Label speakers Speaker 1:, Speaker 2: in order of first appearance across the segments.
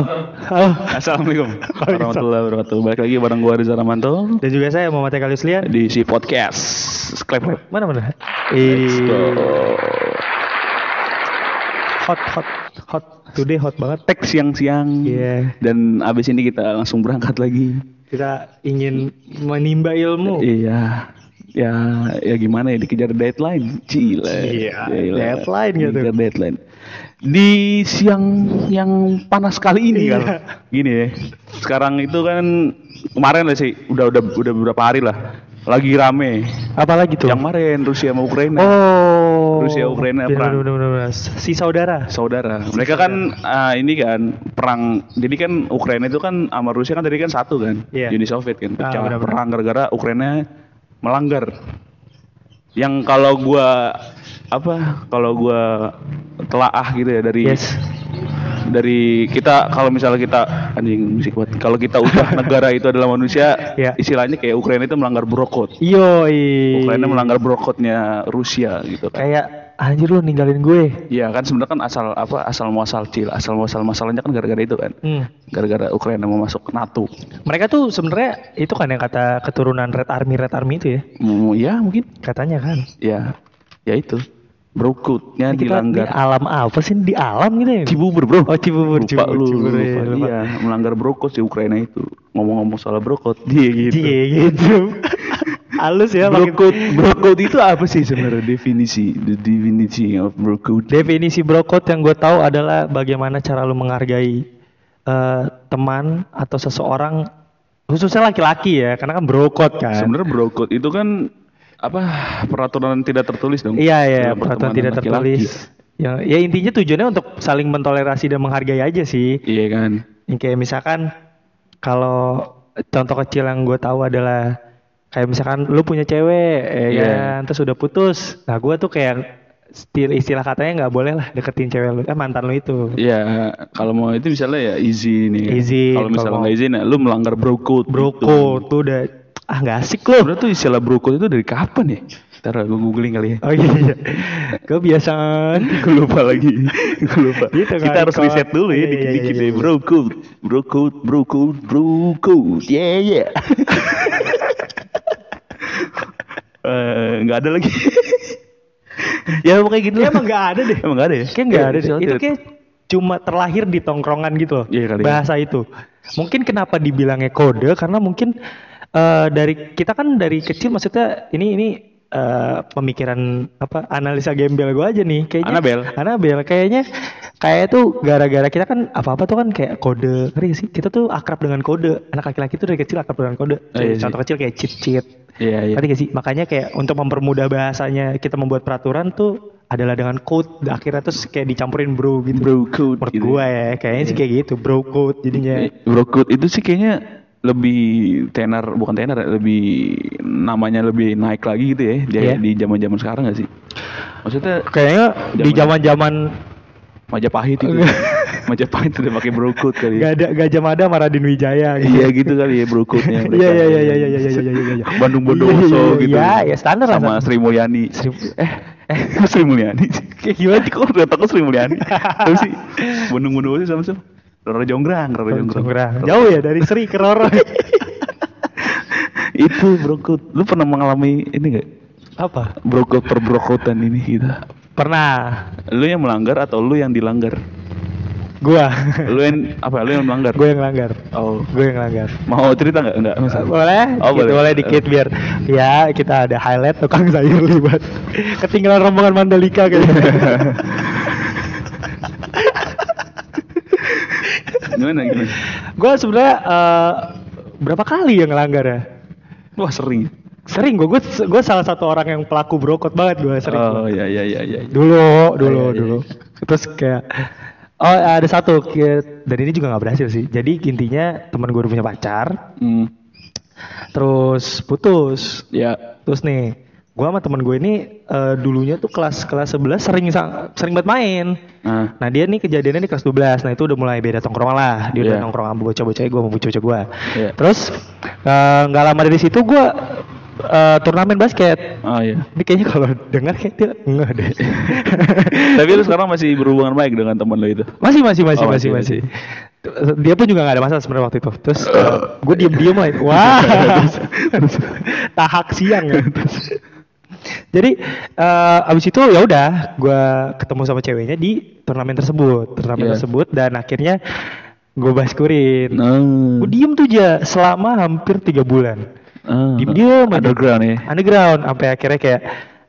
Speaker 1: Halo.
Speaker 2: Assalamualaikum warahmatullahi wabarakatuh. Balik lagi bareng gua Riza Ramanto
Speaker 1: Dan juga saya Muhammad Eka Yuslian.
Speaker 2: di si podcast. Clap clap.
Speaker 1: Mana mana?
Speaker 2: Let's go.
Speaker 1: Ih, hot hot hot. Today hot banget.
Speaker 2: Tek siang-siang.
Speaker 1: Iya.
Speaker 2: Dan abis ini kita langsung berangkat lagi.
Speaker 1: Kita ingin menimba ilmu.
Speaker 2: Iya. Ya, ya gimana ya dikejar deadline, Cile.
Speaker 1: Iya,
Speaker 2: Gila.
Speaker 1: deadline gitu.
Speaker 2: Dikejar deadline. Di siang yang panas kali ini
Speaker 1: Iya.
Speaker 2: kan. Gini ya. Sekarang itu kan kemarin lah sih, udah udah udah beberapa hari lah. Lagi rame.
Speaker 1: Apalagi tuh?
Speaker 2: Yang kemarin Rusia sama Ukraina.
Speaker 1: Oh.
Speaker 2: Rusia, Ukraina,
Speaker 1: Bener,
Speaker 2: perang.
Speaker 1: bener, bener, bener. Si saudara.
Speaker 2: saudara. Mereka kan ah, ini kan perang. Jadi kan Ukraina itu kan sama Rusia kan tadi kan satu kan.
Speaker 1: Iya.
Speaker 2: Uni Soviet kan.
Speaker 1: Ah,
Speaker 2: Pecah
Speaker 1: benar-benar.
Speaker 2: perang gara-gara Ukraina melanggar. Yang kalau gua apa? Kalau gua telaah gitu ya dari
Speaker 1: Yes.
Speaker 2: dari kita kalau misalnya kita anjing musik buat kalau kita ubah negara itu adalah manusia
Speaker 1: Iya.
Speaker 2: istilahnya kayak Ukraina itu melanggar brokot
Speaker 1: Yoi.
Speaker 2: Ukraina melanggar brokotnya Rusia gitu kan
Speaker 1: Kayak anjir lu ninggalin gue.
Speaker 2: Iya kan sebenarnya kan asal apa asal muasal cil asal muasal masalahnya kan gara-gara itu kan
Speaker 1: Hmm.
Speaker 2: gara-gara Ukraina mau masuk NATO.
Speaker 1: Mereka tuh sebenarnya itu kan yang kata keturunan Red Army Red Army itu ya.
Speaker 2: Mm, ya mungkin
Speaker 1: Katanya kan.
Speaker 2: ya ya itu brokutnya
Speaker 1: Ini kita di
Speaker 2: dilanggar
Speaker 1: alam apa sih di alam gitu ya?
Speaker 2: Cibubur bro.
Speaker 1: Oh, Cibubur,
Speaker 2: lupa
Speaker 1: Cibubur,
Speaker 2: lu,
Speaker 1: Cibubur,
Speaker 2: lupa.
Speaker 1: iya, lupa.
Speaker 2: Iya melanggar brokot si Ukraina itu ngomong-ngomong soal brokot dia gitu.
Speaker 1: Iya gitu. Halus ya makin-
Speaker 2: Brokot brokot itu apa sih sebenarnya definisi the divinity of brokot?
Speaker 1: Definisi brokot yang gue tahu adalah bagaimana cara lu menghargai eh, teman atau seseorang khususnya laki-laki ya karena kan brokot kan.
Speaker 2: Sebenarnya brokot itu kan apa peraturan tidak tertulis dong?
Speaker 1: Iya iya
Speaker 2: Dalam
Speaker 1: peraturan
Speaker 2: pertemanan
Speaker 1: tidak
Speaker 2: laki-laki.
Speaker 1: tertulis. Ya, ya intinya tujuannya untuk saling mentolerasi dan menghargai aja sih.
Speaker 2: Iya kan.
Speaker 1: Yang kayak misalkan kalau contoh kecil yang gue tahu adalah kayak misalkan lu punya cewek ya
Speaker 2: Iya.
Speaker 1: kan, terus udah putus. Nah, gue tuh kayak istilah, istilah katanya nggak boleh lah deketin cewek lu, eh, mantan lu itu.
Speaker 2: Ya, kalau mau itu misalnya ya izin ya.
Speaker 1: Izin,
Speaker 2: Kalau misalnya
Speaker 1: kalau
Speaker 2: nggak izin, ya, lu melanggar bro code.
Speaker 1: Broko tuh udah ah nggak asik
Speaker 2: Gitu.
Speaker 1: lu.
Speaker 2: Sebenarnya tuh istilah bro code itu dari kapan ya? Ntar gue googling kali ya.
Speaker 1: Oh iya iya. Kebiasaan.
Speaker 2: gue lupa lagi. gue lupa.
Speaker 1: Gitu kan,
Speaker 2: Kita harus
Speaker 1: kalau-
Speaker 2: riset dulu ya
Speaker 1: iya, iya,
Speaker 2: dikit-dikit
Speaker 1: iya,
Speaker 2: ya.
Speaker 1: iya.
Speaker 2: Bro code, bro code, bro code, bro code. Yeah, yeah. Eh, nggak ada lagi. ya pokoknya gitu.
Speaker 1: Emang nggak ada deh.
Speaker 2: Emang nggak ada ya?
Speaker 1: Kayak nggak
Speaker 2: Ya,
Speaker 1: ada deh.
Speaker 2: istilah
Speaker 1: Itu
Speaker 2: tidak-
Speaker 1: kayak cuma terlahir di tongkrongan gitu loh.
Speaker 2: Iya kali ya.
Speaker 1: bahasa itu. Mungkin kenapa dibilangnya kode karena mungkin eh, dari kita kan dari kecil maksudnya ini ini eh, pemikiran apa analisa gembel gua aja nih kayaknya.
Speaker 2: Anabel.
Speaker 1: Anabel kayaknya kayak tuh gara-gara kita kan apa-apa tuh kan kayak kode. Ngeri nggak sih. Kita tuh akrab dengan kode. Anak laki-laki tuh dari kecil akrab dengan kode.
Speaker 2: Oh, iya sih.
Speaker 1: Contoh kecil kayak cheat-cheat.
Speaker 2: Iya, iya.
Speaker 1: Ngerti gak sih? Makanya kayak untuk mempermudah bahasanya kita membuat peraturan tuh adalah dengan code. Akhirnya terus kayak dicampurin bro gitu.
Speaker 2: Bro code.
Speaker 1: Menurut
Speaker 2: gitu. Iya.
Speaker 1: gua ya, kayaknya sih kayak gitu, bro code jadinya.
Speaker 2: Brokut itu sih kayaknya lebih tenar bukan tenar ya, lebih namanya lebih naik lagi gitu ya di
Speaker 1: Iya.
Speaker 2: di zaman-zaman sekarang gak sih? Maksudnya
Speaker 1: Kayaknya di zaman-zaman
Speaker 2: Majapahit itu. Majapahit udah pakai brokut kali. Ya.
Speaker 1: gak ada Gajah Mada sama Raden Wijaya gitu.
Speaker 2: Iya gitu kali ya brokutnya. mereka.
Speaker 1: Iya iya iya iya iya iya iya iya iya.
Speaker 2: Bandung
Speaker 1: Iya, iya,
Speaker 2: Bondowoso gitu.
Speaker 1: Iya, ya standar lah.
Speaker 2: sama
Speaker 1: standar.
Speaker 2: Sri Mulyani. Sri eh eh Sri Mulyani. Kayak gimana sih kok datang ke Sri Mulyani? Terus sih Bandung Bondowoso sama siapa? Roro Jonggrang, Roro
Speaker 1: Jonggrang.
Speaker 2: Jonggrang.
Speaker 1: Jauh ya dari Sri ke Roro.
Speaker 2: itu brokut lu pernah mengalami ini gak
Speaker 1: Apa?
Speaker 2: brokut perbrokotan ini gitu
Speaker 1: Pernah
Speaker 2: lu yang melanggar atau lu yang dilanggar
Speaker 1: gua
Speaker 2: lu yang apa lu yang melanggar
Speaker 1: gua yang langgar.
Speaker 2: oh
Speaker 1: Gua yang langgar.
Speaker 2: mau cerita nggak nggak masa
Speaker 1: boleh,
Speaker 2: Oh,
Speaker 1: gitu,
Speaker 2: boleh.
Speaker 1: boleh, dikit biar ya kita ada highlight tukang sayur libat ketinggalan rombongan Mandalika kayaknya
Speaker 2: gimana gimana
Speaker 1: gue sebenarnya eh, berapa kali yang ngelanggar ya
Speaker 2: wah sering
Speaker 1: sering gue gue salah satu orang yang pelaku brokot banget gue sering
Speaker 2: oh ya ya ya ya
Speaker 1: dulu dulu
Speaker 2: iya, iya.
Speaker 1: dulu terus kayak oh ada satu kayak- dan ini juga nggak berhasil sih jadi intinya teman gue punya pacar
Speaker 2: hmm.
Speaker 1: terus putus
Speaker 2: ya
Speaker 1: Terus nih, gua sama temen gue ini eh, dulunya tuh kelas kelas 11 sering sang- sering banget main.
Speaker 2: nah
Speaker 1: Nah dia nih kejadiannya di kelas 12 Nah itu udah mulai beda tongkrongan lah Dia udah
Speaker 2: Iya.
Speaker 1: nongkrong sama bocah-bocah gue sama bocah-bocah gue
Speaker 2: Iya.
Speaker 1: Terus eh, nggak lama dari situ gue eh, turnamen basket
Speaker 2: oh ya
Speaker 1: Ini kayaknya kalau dengar kayak dia ngeh deh
Speaker 2: tapi lu sekarang masih berhubungan baik dengan teman lu itu
Speaker 1: Masih masih masih
Speaker 2: Oh,
Speaker 1: masih
Speaker 2: masih, Eh.
Speaker 1: masih
Speaker 2: masih.
Speaker 1: dia pun juga nggak ada masalah sebenarnya waktu itu terus gue diem diem lah wah tahak siang ya jadi eh, abis itu ya udah gue ketemu sama ceweknya di turnamen tersebut
Speaker 2: Iya.
Speaker 1: turnamen tersebut dan akhirnya gue baskurin
Speaker 2: Nah,
Speaker 1: gue diem tuh aja selama hampir tiga bulan
Speaker 2: ah,
Speaker 1: diem-diem aja.
Speaker 2: underground ya.
Speaker 1: underground sampai akhirnya kayak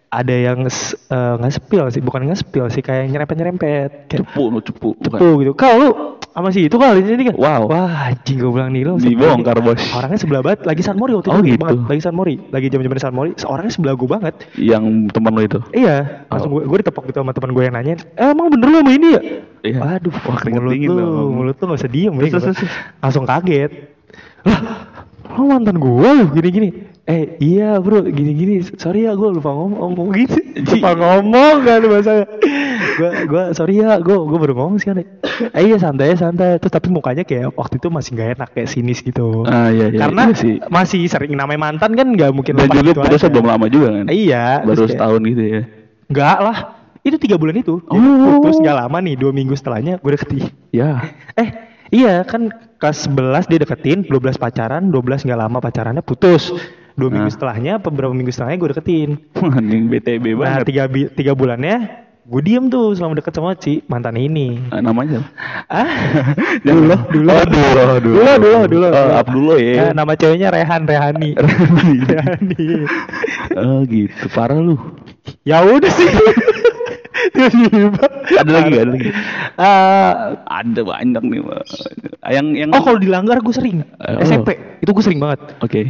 Speaker 1: ada yang s- eh, nge-spill sih bukan nge-spill sih kayak nyerempet nyerempet kayak
Speaker 2: Cepu, lu cepu. bukan.
Speaker 1: tuh gitu kau lu sama si itu kali ini kan
Speaker 2: Wow.
Speaker 1: wah anjing gue bilang nih lu
Speaker 2: Dibongkar,
Speaker 1: sebelah-
Speaker 2: Bos.
Speaker 1: orangnya sebelah banget lagi San Mori waktu itu
Speaker 2: Oh,
Speaker 1: lagi
Speaker 2: gitu.
Speaker 1: banget. lagi San Mori lagi jam jaman San Mori orangnya sebelah gue banget
Speaker 2: Yang teman lu itu.
Speaker 1: iya
Speaker 2: Oh.
Speaker 1: langsung gue gue ditepok gitu sama teman gue yang nanya eh, emang bener lu sama ini ya
Speaker 2: Iya.
Speaker 1: aduh
Speaker 2: Wah, keringet
Speaker 1: mulut
Speaker 2: dingin
Speaker 1: lu
Speaker 2: dong.
Speaker 1: mulut tuh gak usah diem ya,
Speaker 2: Terus,
Speaker 1: gua.
Speaker 2: terus, terus.
Speaker 1: langsung kaget lah lu mantan gue lu gini-gini eh iya bro gini-gini sorry ya gue lupa ngomong ngomong gitu lupa ngomong kan bahasanya gue gue sorry ya gue gue baru ngomong sih kan eh iya santai santai terus tapi mukanya kayak waktu itu masih gak enak kayak sinis gitu
Speaker 2: Ah, iya, iya.
Speaker 1: karena
Speaker 2: Iya sih.
Speaker 1: masih sering namanya mantan kan gak mungkin
Speaker 2: Dan
Speaker 1: lepas
Speaker 2: juga
Speaker 1: gitu
Speaker 2: putusnya
Speaker 1: aja.
Speaker 2: belum lama juga kan.
Speaker 1: iya terus
Speaker 2: Baru
Speaker 1: kayak-
Speaker 2: setahun gitu ya.
Speaker 1: Enggak lah. Itu tiga bulan itu. Jadi
Speaker 2: Oh.
Speaker 1: Putus nggak lama nih. Dua minggu setelahnya gue deketin.
Speaker 2: Ya.
Speaker 1: Eh iya kan kelas 11 dia deketin. 12 pacaran. 12 nggak lama pacarannya putus. Dua minggu
Speaker 2: Nah.
Speaker 1: setelahnya. apa Beberapa minggu setelahnya gue deketin.
Speaker 2: Anjing BTB
Speaker 1: Nah
Speaker 2: banget.
Speaker 1: tiga, bi- tiga bulannya. Gue diem tuh selama deket sama si mantan ini.
Speaker 2: Ah, namanya siapa?
Speaker 1: Ah,
Speaker 2: Dulu,
Speaker 1: dulu.
Speaker 2: Oh, dulu, dulu.
Speaker 1: Dulu, dulu, dulu.
Speaker 2: Oh, Abdullah ya.
Speaker 1: Eh, nama ceweknya Rehan Rehani. Rehani.
Speaker 2: Oh gitu, parah lu.
Speaker 1: ya udah sih. Tiba-tiba.
Speaker 2: Ada lagi, ada lagi.
Speaker 1: Eh,
Speaker 2: Ada banyak nih. Pak. Yang yang
Speaker 1: Oh kalau dilanggar gue sering
Speaker 2: Eh,
Speaker 1: SMP itu gue sering banget.
Speaker 2: Oke.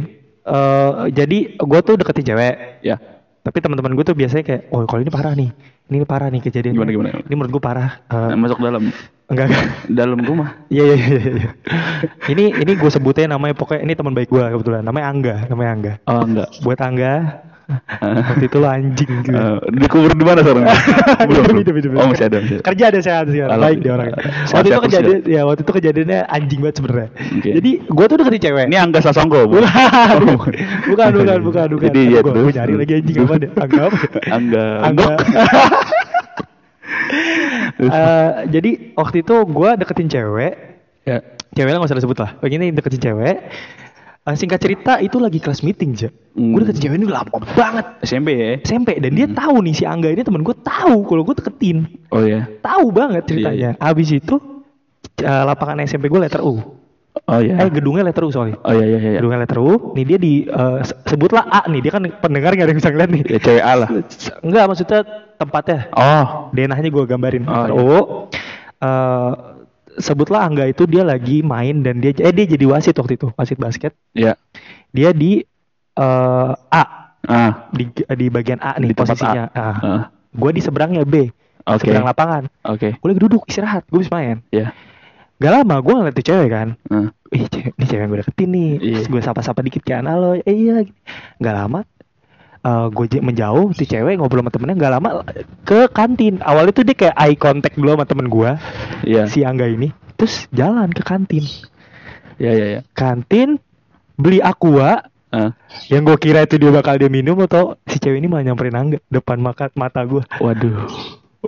Speaker 1: Eh jadi gue tuh deketin cewek,
Speaker 2: Ya.
Speaker 1: tapi teman-teman gue tuh biasanya kayak, oh kalau ini parah nih, ini parah nih kejadian.
Speaker 2: Gimana, gimana?
Speaker 1: Ini menurut gue parah. Eh,
Speaker 2: Nah, masuk dalam
Speaker 1: enggak enggak.
Speaker 2: dalam rumah.
Speaker 1: Iya iya iya. iya, iya. ini ini gue sebutnya namanya pokoknya ini teman baik gue kebetulan, namanya Angga, namanya Angga.
Speaker 2: Oh enggak.
Speaker 1: Buat Angga waktu itu lo anjing gitu.
Speaker 2: Eh, dikubur di mana sekarang? belum, belum.
Speaker 1: Hidup, hidup, hidup.
Speaker 2: Oh masih ada. Masih ada.
Speaker 1: Kerja ada sehat sehat.
Speaker 2: Alhamdulillah.
Speaker 1: Baik dia orangnya.
Speaker 2: Sehat,
Speaker 1: Waktu itu
Speaker 2: sehat,
Speaker 1: kejadian ya waktu itu kejadiannya anjing banget sebenarnya.
Speaker 2: Oke.
Speaker 1: Jadi gue tuh deketin cewek.
Speaker 2: Ini angka sasongko. Bu.
Speaker 1: Bukan,
Speaker 2: Oh,
Speaker 1: bukan, bukan, bukan, bukan, bukan.
Speaker 2: Jadi ya
Speaker 1: Gua-
Speaker 2: terus.
Speaker 1: gua nyari lagi anjing apa deh? Angga apa?
Speaker 2: Angga.
Speaker 1: iya, Angga. Eh, jadi waktu itu gue deketin cewek,
Speaker 2: Ya.
Speaker 1: cewek lah nggak usah disebut lah. Begini deketin cewek. Eh, singkat cerita itu lagi kelas meeting aja. Gue
Speaker 2: Hmm.
Speaker 1: deketin cewek ini udah lama banget
Speaker 2: SMP ya.
Speaker 1: SMP dan dia tahu nih si Angga ini temen gue tahu kalau gue deketin,
Speaker 2: Oh ya.
Speaker 1: tahu banget ceritanya. Abis itu eh, lapangan SMP gue letter U.
Speaker 2: Oh ya.
Speaker 1: Eh gedungnya letter U sorry.
Speaker 2: Oh ya ya ya. ya.
Speaker 1: Gedungnya letter U. Nih dia di eh, se- sebutlah A nih dia kan pendengar gak ada yang bisa ngeliat nih.
Speaker 2: Ya cewek A lah.
Speaker 1: Enggak maksudnya tempatnya iya.
Speaker 2: Oh.
Speaker 1: denahnya gue gambarin
Speaker 2: Oh,
Speaker 1: Letter U. Eh, sebutlah Angga itu dia lagi main dan dia eh dia jadi wasit waktu itu wasit basket
Speaker 2: Ya.
Speaker 1: dia di eh, A
Speaker 2: Ah.
Speaker 1: di di bagian A
Speaker 2: Di
Speaker 1: nih
Speaker 2: tempat
Speaker 1: posisinya Ah.
Speaker 2: Ah.
Speaker 1: gue di seberangnya B
Speaker 2: Oke.
Speaker 1: seberang lapangan
Speaker 2: Oke.
Speaker 1: gue lagi duduk istirahat gue bisa main
Speaker 2: Ya.
Speaker 1: gak lama gue ngeliat tuh cewek kan
Speaker 2: Ah.
Speaker 1: ih cewek, ini cewek yang gue deketin nih
Speaker 2: Iya.
Speaker 1: terus gue sapa-sapa dikit kayak anak lo eh, iya gak lama gue menjauh tuh cewek ngobrol sama temennya gak lama ke kantin awalnya tuh dia kayak eye contact dulu sama temen gue
Speaker 2: Ya.
Speaker 1: si Angga ini terus jalan ke kantin
Speaker 2: Ya ya ya.
Speaker 1: kantin beli aqua
Speaker 2: Ah.
Speaker 1: yang gue kira itu dia bakal dia minum atau si cewek ini malah nyamperin Angga depan maka, mata gue
Speaker 2: Waduh.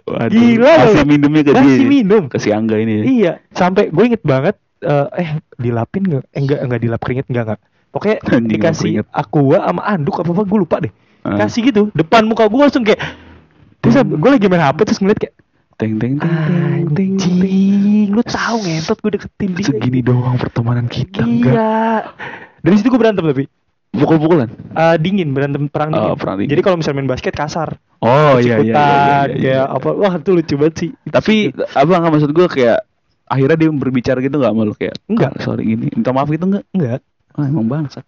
Speaker 2: Waduh.
Speaker 1: Gila lu.
Speaker 2: Masih minumnya ke
Speaker 1: Masih
Speaker 2: dia.
Speaker 1: minum.
Speaker 2: Ke si Angga ini ya.
Speaker 1: Iya, sampai gue inget banget eh, eh dilapin nggak? Eh, enggak enggak dilap keringet enggak enggak. Pokoknya
Speaker 2: Anjing, dilap
Speaker 1: dikasih
Speaker 2: keringet.
Speaker 1: aqua sama anduk apa apa gue lupa deh.
Speaker 2: Ah. Hmm.
Speaker 1: Kasih gitu depan muka gue langsung kayak terus gue lagi main HP terus ngeliat kayak
Speaker 2: Teng teng teng
Speaker 1: Ah,
Speaker 2: teng teng. teng.
Speaker 1: anjing lu tahu ngentot gue deketin dia
Speaker 2: Segini doang pertemanan kita. enggak.
Speaker 1: Iya. Dari situ gue berantem tapi
Speaker 2: Pukul-pukulan.
Speaker 1: Eh, dingin berantem perang
Speaker 2: Oh,
Speaker 1: dingin.
Speaker 2: perang dingin.
Speaker 1: Jadi kalau misalnya main basket kasar,
Speaker 2: Oh
Speaker 1: iya, Cikutan, kayak apa wah itu lucu banget sih.
Speaker 2: Tapi apa nggak maksud gua kayak akhirnya dia berbicara gitu nggak malu kayak
Speaker 1: Enggak.
Speaker 2: "Kak, sorry gini minta maaf gitu nggak
Speaker 1: enggak
Speaker 2: ah, emang bangsa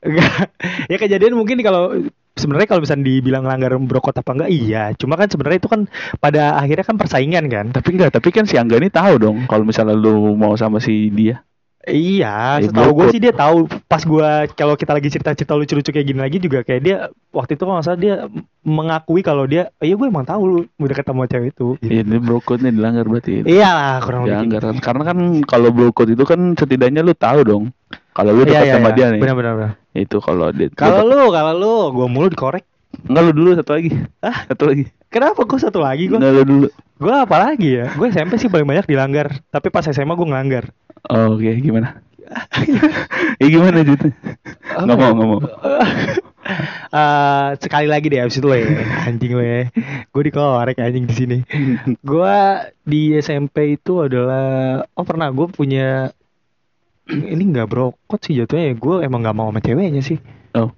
Speaker 1: Enggak. ya kejadian mungkin kalau sebenarnya kalau misalnya dibilang langgar brokot apa enggak iya cuma kan sebenarnya itu kan pada akhirnya kan persaingan kan
Speaker 2: tapi enggak tapi kan si Angga ini tahu dong kalau misalnya lu mau sama si dia
Speaker 1: iya
Speaker 2: Ya,
Speaker 1: setahu gue
Speaker 2: brokot.
Speaker 1: sih dia tahu pas gua kalau kita lagi cerita-cerita lucu-lucu kayak gini lagi juga kayak dia waktu itu kalau nggak salah dia mengakui kalau dia iya gue emang tahu lu udah ketemu cewek itu gitu.
Speaker 2: ini brokotnya dilanggar berarti
Speaker 1: iya lah
Speaker 2: Ya,
Speaker 1: kurang lebih gitu.
Speaker 2: anggaran. Karena kan kalau brokot itu kan setidaknya lu tahu dong. Kalau lu dekat
Speaker 1: Iya, iya,
Speaker 2: sama
Speaker 1: iya.
Speaker 2: dia nih.
Speaker 1: benar benar benar
Speaker 2: Itu kalau dia.
Speaker 1: kalau lu kalau lu gue mulu dikorek
Speaker 2: Enggak lu dulu satu lagi.
Speaker 1: Hah?
Speaker 2: Satu lagi.
Speaker 1: Kenapa gue satu lagi gue?
Speaker 2: Enggak lu dulu.
Speaker 1: Gue apa lagi ya? Gue SMP sih paling banyak dilanggar. Tapi pas SMA gue ngelanggar.
Speaker 2: Oh, Oke, gimana? ya gimana gitu? Enggak mau, enggak mau.
Speaker 1: ya? Eh, sekali lagi deh abis itu lo ya anjing lo ya gue dikorek anjing di sini gue di SMP itu adalah oh pernah gue punya ini nggak brokot sih jatuhnya ya gue emang nggak mau sama ceweknya sih
Speaker 2: Oh.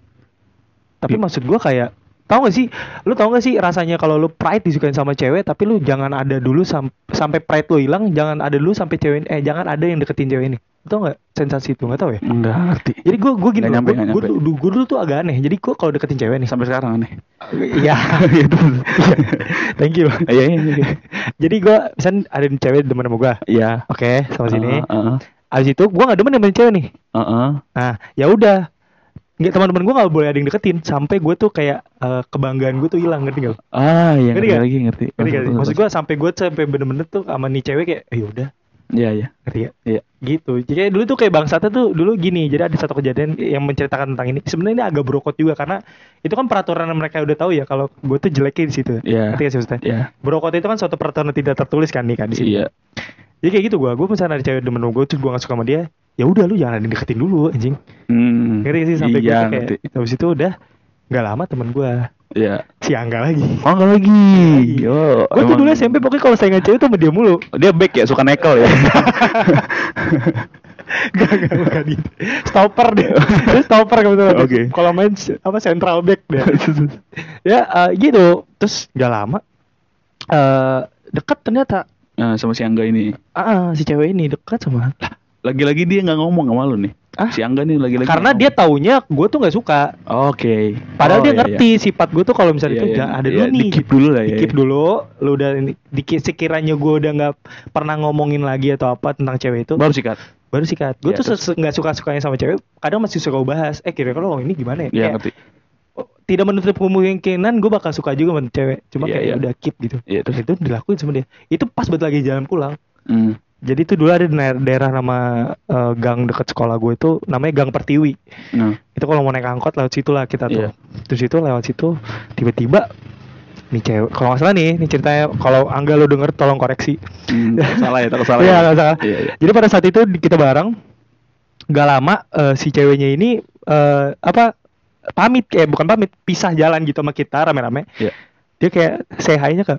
Speaker 1: tapi
Speaker 2: Iya.
Speaker 1: maksud gue kayak tau gak sih lu tau gak sih rasanya kalau lu pride disukain sama cewek tapi lu jangan ada dulu sam- sampai pride lu hilang jangan ada dulu sampai cewek eh jangan ada yang deketin cewek ini Lu tau nggak sensasi itu nggak tau ya
Speaker 2: Enggak ngerti.
Speaker 1: jadi gue gue gini
Speaker 2: Nggak nyampe,
Speaker 1: gue
Speaker 2: nggak
Speaker 1: gue
Speaker 2: nyampe.
Speaker 1: dulu, gua dulu tuh agak aneh jadi gue kalau deketin cewek nih
Speaker 2: Sampai sekarang aneh.
Speaker 1: Iya,
Speaker 2: Gitu.
Speaker 1: thank you.
Speaker 2: Iya, iya, iya.
Speaker 1: Jadi gua misalnya ada nih cewek demen sama gua.
Speaker 2: Iya. Ah,
Speaker 1: Oke, sama sini.
Speaker 2: Heeh.
Speaker 1: Abis itu gua nggak demen sama cewek nih.
Speaker 2: Heeh.
Speaker 1: Nah, ya udah. Nggak teman-teman gua nggak boleh ada yang deketin sampai gua tuh kayak eh, kebanggaan gua tuh hilang ngerti gak?
Speaker 2: Ah, iya
Speaker 1: Ngerti
Speaker 2: ngerti
Speaker 1: nggak?
Speaker 2: lagi ngerti.
Speaker 1: Ngerti gak? Maksud gua sampai gua sampai bener-bener tuh sama nih cewek kayak, ya udah,
Speaker 2: Iya, iya.
Speaker 1: ngerti gak?
Speaker 2: Iya.
Speaker 1: gitu jadi kayak dulu tuh kayak bangsatnya tuh dulu gini jadi ada satu kejadian yang menceritakan tentang ini sebenarnya ini agak brokot juga karena itu kan peraturan yang mereka udah tahu ya kalau gue tuh jeleknya di situ
Speaker 2: Iya.
Speaker 1: ngerti gak sih maksudnya
Speaker 2: Iya.
Speaker 1: Brokot itu kan suatu peraturan yang tidak tertulis kan nih kan di sini.
Speaker 2: Iya.
Speaker 1: Jadi kayak gitu gua, gua misalnya ada cewek demen gue, terus gua gak suka sama dia, ya udah lu jangan ada yang deketin dulu anjing.
Speaker 2: Hmm.
Speaker 1: Ngerti gak sih sampai
Speaker 2: iya,
Speaker 1: gua tuh
Speaker 2: ngerti.
Speaker 1: kayak habis itu udah nggak lama temen gua
Speaker 2: Iya.
Speaker 1: si Angga lagi.
Speaker 2: Oh, enggak lagi.
Speaker 1: Lagi.
Speaker 2: Oh,
Speaker 1: Gua tuh
Speaker 2: emang-
Speaker 1: dulu SMP pokoknya kalau saya cewek tuh sama dia mulu.
Speaker 2: Dia back ya, suka nekel ya.
Speaker 1: Gak, gak, bukan gitu. Stopper dia. Dia stopper kebetulan.
Speaker 2: Oke.
Speaker 1: Kalau main s- apa central back dia. ya eh, gitu. Terus gak lama eh deket ternyata
Speaker 2: Nah, sama si Angga ini.
Speaker 1: ah ah, si cewek ini deket sama
Speaker 2: Lagi-lagi dia nggak ngomong sama lu nih.
Speaker 1: Ah?
Speaker 2: Si Angga nih lagi-lagi.
Speaker 1: karena
Speaker 2: nggak
Speaker 1: dia taunya gue tuh nggak suka
Speaker 2: ngomong. Oke.
Speaker 1: Padahal
Speaker 2: Oh,
Speaker 1: dia
Speaker 2: iya,
Speaker 1: ngerti
Speaker 2: iya.
Speaker 1: sifat gue tuh kalau misalnya
Speaker 2: Iya,
Speaker 1: itu
Speaker 2: iya,
Speaker 1: jangan ada
Speaker 2: iya,
Speaker 1: dulu nih.
Speaker 2: dikip dulu lah, iya,
Speaker 1: Dikip
Speaker 2: iya.
Speaker 1: dulu, lu udah ini- dikit sekiranya gue udah nggak pernah ngomongin lagi atau apa tentang cewek itu,
Speaker 2: iya. Baru sikat.
Speaker 1: baru sikat. Gue
Speaker 2: Iya,
Speaker 1: tuh ses- nggak suka sukanya sama cewek, kadang masih suka gue bahas. Eh kira-kira lo ini gimana ya?
Speaker 2: Iya,
Speaker 1: Kayak,
Speaker 2: ngerti.
Speaker 1: oh, tidak menutup kemungkinan gue bakal suka juga sama cewek, cuma
Speaker 2: Iya,
Speaker 1: kayak
Speaker 2: iya.
Speaker 1: udah keep gitu.
Speaker 2: Iya, terus?
Speaker 1: Itu dilakuin sama dia. Itu pas buat lagi jalan pulang.
Speaker 2: Hmm.
Speaker 1: Jadi itu dulu ada di daer- daerah nama eh, gang dekat sekolah gue itu namanya Gang Pertiwi
Speaker 2: Nah.
Speaker 1: itu kalau mau naik angkot lewat situ lah kita tuh
Speaker 2: Iya.
Speaker 1: terus itu lewat situ tiba-tiba nih cewek kalau nggak salah nih ini ceritanya kalau angga lo denger tolong koreksi
Speaker 2: Hmm, takut salah ya, takut salah.
Speaker 1: Iya,
Speaker 2: ya.
Speaker 1: nggak salah.
Speaker 2: Iya, iya.
Speaker 1: jadi pada saat itu di- kita bareng nggak lama eh, si ceweknya ini eh, apa pamit kayak bukan pamit pisah jalan gitu sama kita rame-rame
Speaker 2: Iya.
Speaker 1: dia kayak say hi-nya ke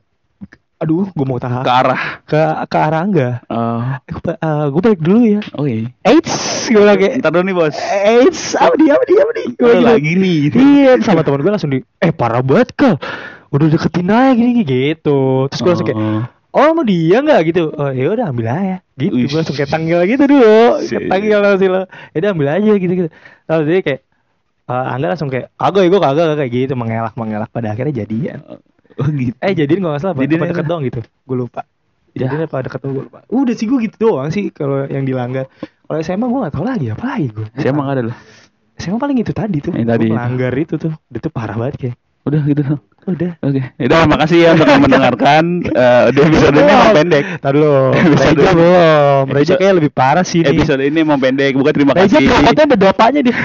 Speaker 1: aduh gue mau
Speaker 2: Ke
Speaker 1: tahan
Speaker 2: arah.
Speaker 1: ke ke arah angga "Eh,
Speaker 2: Oh,
Speaker 1: gue balik dulu ya
Speaker 2: oke.
Speaker 1: Eits gue bilang kayak
Speaker 2: Ntar dulu nih,
Speaker 1: Eh,
Speaker 2: Bos.
Speaker 1: Eits, apa dia, apa dia, apa dia. Gua
Speaker 2: Lu
Speaker 1: gitu.
Speaker 2: lagi nih, gitu.
Speaker 1: Iya, sama teman gue langsung di, eh parah banget kal. Udah deketin aja gini gitu. Terus gue langsung kayak,
Speaker 2: Oh.
Speaker 1: oh mau dia nggak gitu? Oh ya udah ambil aja. Gitu,
Speaker 2: Wih.
Speaker 1: gue langsung kayak tanggil gitu dulu.
Speaker 2: Sih.
Speaker 1: Kayak Tanggil langsung lo. Ya udah ambil aja gitu gitu. Lalu dia kayak, eh Angga langsung kayak, agak ya gue kagak kagak," kayak gitu mengelak mengelak. Pada akhirnya jadian.
Speaker 2: Oh, gitu.
Speaker 1: Eh jadian gue nggak salah,
Speaker 2: Jadian
Speaker 1: pada
Speaker 2: apa?
Speaker 1: deket doang gitu. Gue lupa.
Speaker 2: Ya.
Speaker 1: Jadian apa deket doang gue lupa. Udah sih gue gitu doang sih kalau yang dilanggar. Kalau SMA gue gak tau lagi apa lagi gue.
Speaker 2: Saya emang ada loh.
Speaker 1: SMA paling itu tadi tuh.
Speaker 2: Yang tadi
Speaker 1: Gua
Speaker 2: itu.
Speaker 1: melanggar itu tuh. Itu parah banget kayak.
Speaker 2: Udah gitu dong.
Speaker 1: Udah.
Speaker 2: Oke, udah makasih ya untuk mendengarkan eh episode ini emang pendek.
Speaker 1: Tadi lo.
Speaker 2: Episode-
Speaker 1: Reja belum. Reja
Speaker 2: episode-
Speaker 1: kayak lebih parah sih ini. Nah,
Speaker 2: Episode ini emang pendek, bukan terima
Speaker 1: Reja
Speaker 2: kasih.
Speaker 1: kelopotnya ada dopanya dia.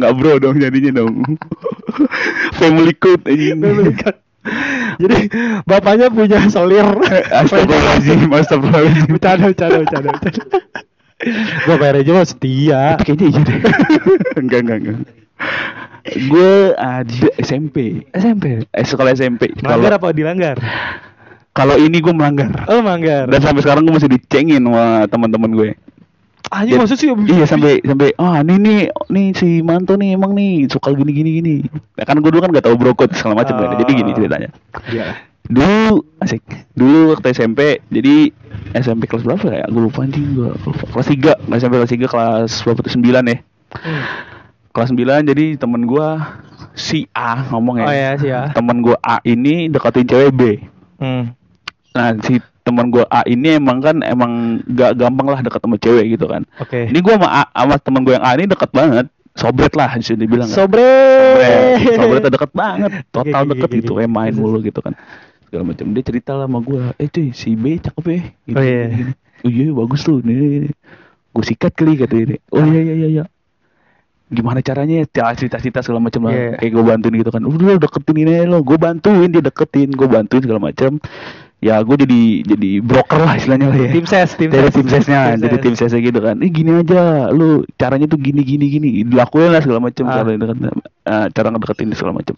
Speaker 2: Nggak bro dong jadinya dong. Family code anjing.
Speaker 1: kan? Jadi bapaknya punya solir.
Speaker 2: Eh, Astagfirullahaladzim, astagfirullahaladzim.
Speaker 1: Bercanda, bercanda, bercanda. bercanda. Bapak Reja mah setia.
Speaker 2: Kayaknya iya deh. enggak, enggak, enggak. Gue ada SMP.
Speaker 1: SMP.
Speaker 2: Eh, sekolah SMP.
Speaker 1: Melanggar
Speaker 2: Kalau
Speaker 1: apa dilanggar?
Speaker 2: kalau ini gue melanggar.
Speaker 1: Oh melanggar.
Speaker 2: Dan sampai sekarang gue masih dicengin sama teman-teman gue. Jadi-
Speaker 1: Anjing Ah, maksud sih.
Speaker 2: Iya sampai sampai oh ini nih nih si Manto nih emang nih suka gini gini gini. Nah, kan gue dulu kan gak tahu brokot segala macam kan. Jadi gini
Speaker 1: Ah.
Speaker 2: ceritanya.
Speaker 1: Iya.
Speaker 2: Dulu asik. Dulu waktu SMP jadi SMP kelas berapa ya? Gue lupa anjing gue lupa. Kelas 3, nggak SMP kelas 3 kelas berapa tuh 9 ya.
Speaker 1: Hmm.
Speaker 2: Kelas 9 jadi temen gue si A ngomong ya.
Speaker 1: Oh ya sih ya.
Speaker 2: Temen gue A ini deketin cewek B.
Speaker 1: Hmm.
Speaker 2: Nah si temen gue A ini emang kan emang gak gampang lah deket sama cewek gitu kan.
Speaker 1: Oke.
Speaker 2: Ini gue sama, A- sama temen gue yang A ini deket banget Sobret lah bisa dibilang kan.
Speaker 1: Sobre.
Speaker 2: Sobret Sobret tuh deket banget Total
Speaker 1: Oke, oke,
Speaker 2: deket
Speaker 1: oke,
Speaker 2: gitu
Speaker 1: oke.
Speaker 2: kayak main
Speaker 1: Terus,
Speaker 2: mulu gitu kan Segala macam Dia cerita lah sama gue Eh cuy si B cakep ya gitu,
Speaker 1: Oh, iya.
Speaker 2: gini. Oh iya bagus tuh nih, Gue sikat kali kata dia Oh iya iya iya iya gimana caranya ya cerita-cerita segala macam lah
Speaker 1: Iya.
Speaker 2: kayak gue bantuin gitu kan udah lo deketin ini aja lo gue bantuin dia deketin gue bantuin segala macam ya gue jadi jadi broker lah istilahnya lah ya
Speaker 1: Tim ses, tim
Speaker 2: dari
Speaker 1: ses.
Speaker 2: tim sesnya
Speaker 1: Tim
Speaker 2: dari
Speaker 1: ses.
Speaker 2: tim sesnya gitu kan ini gini aja lu caranya tuh gini gini gini dilakuin lah segala macam
Speaker 1: Ah.
Speaker 2: cara dekat eh, cara ngedeketin segala macam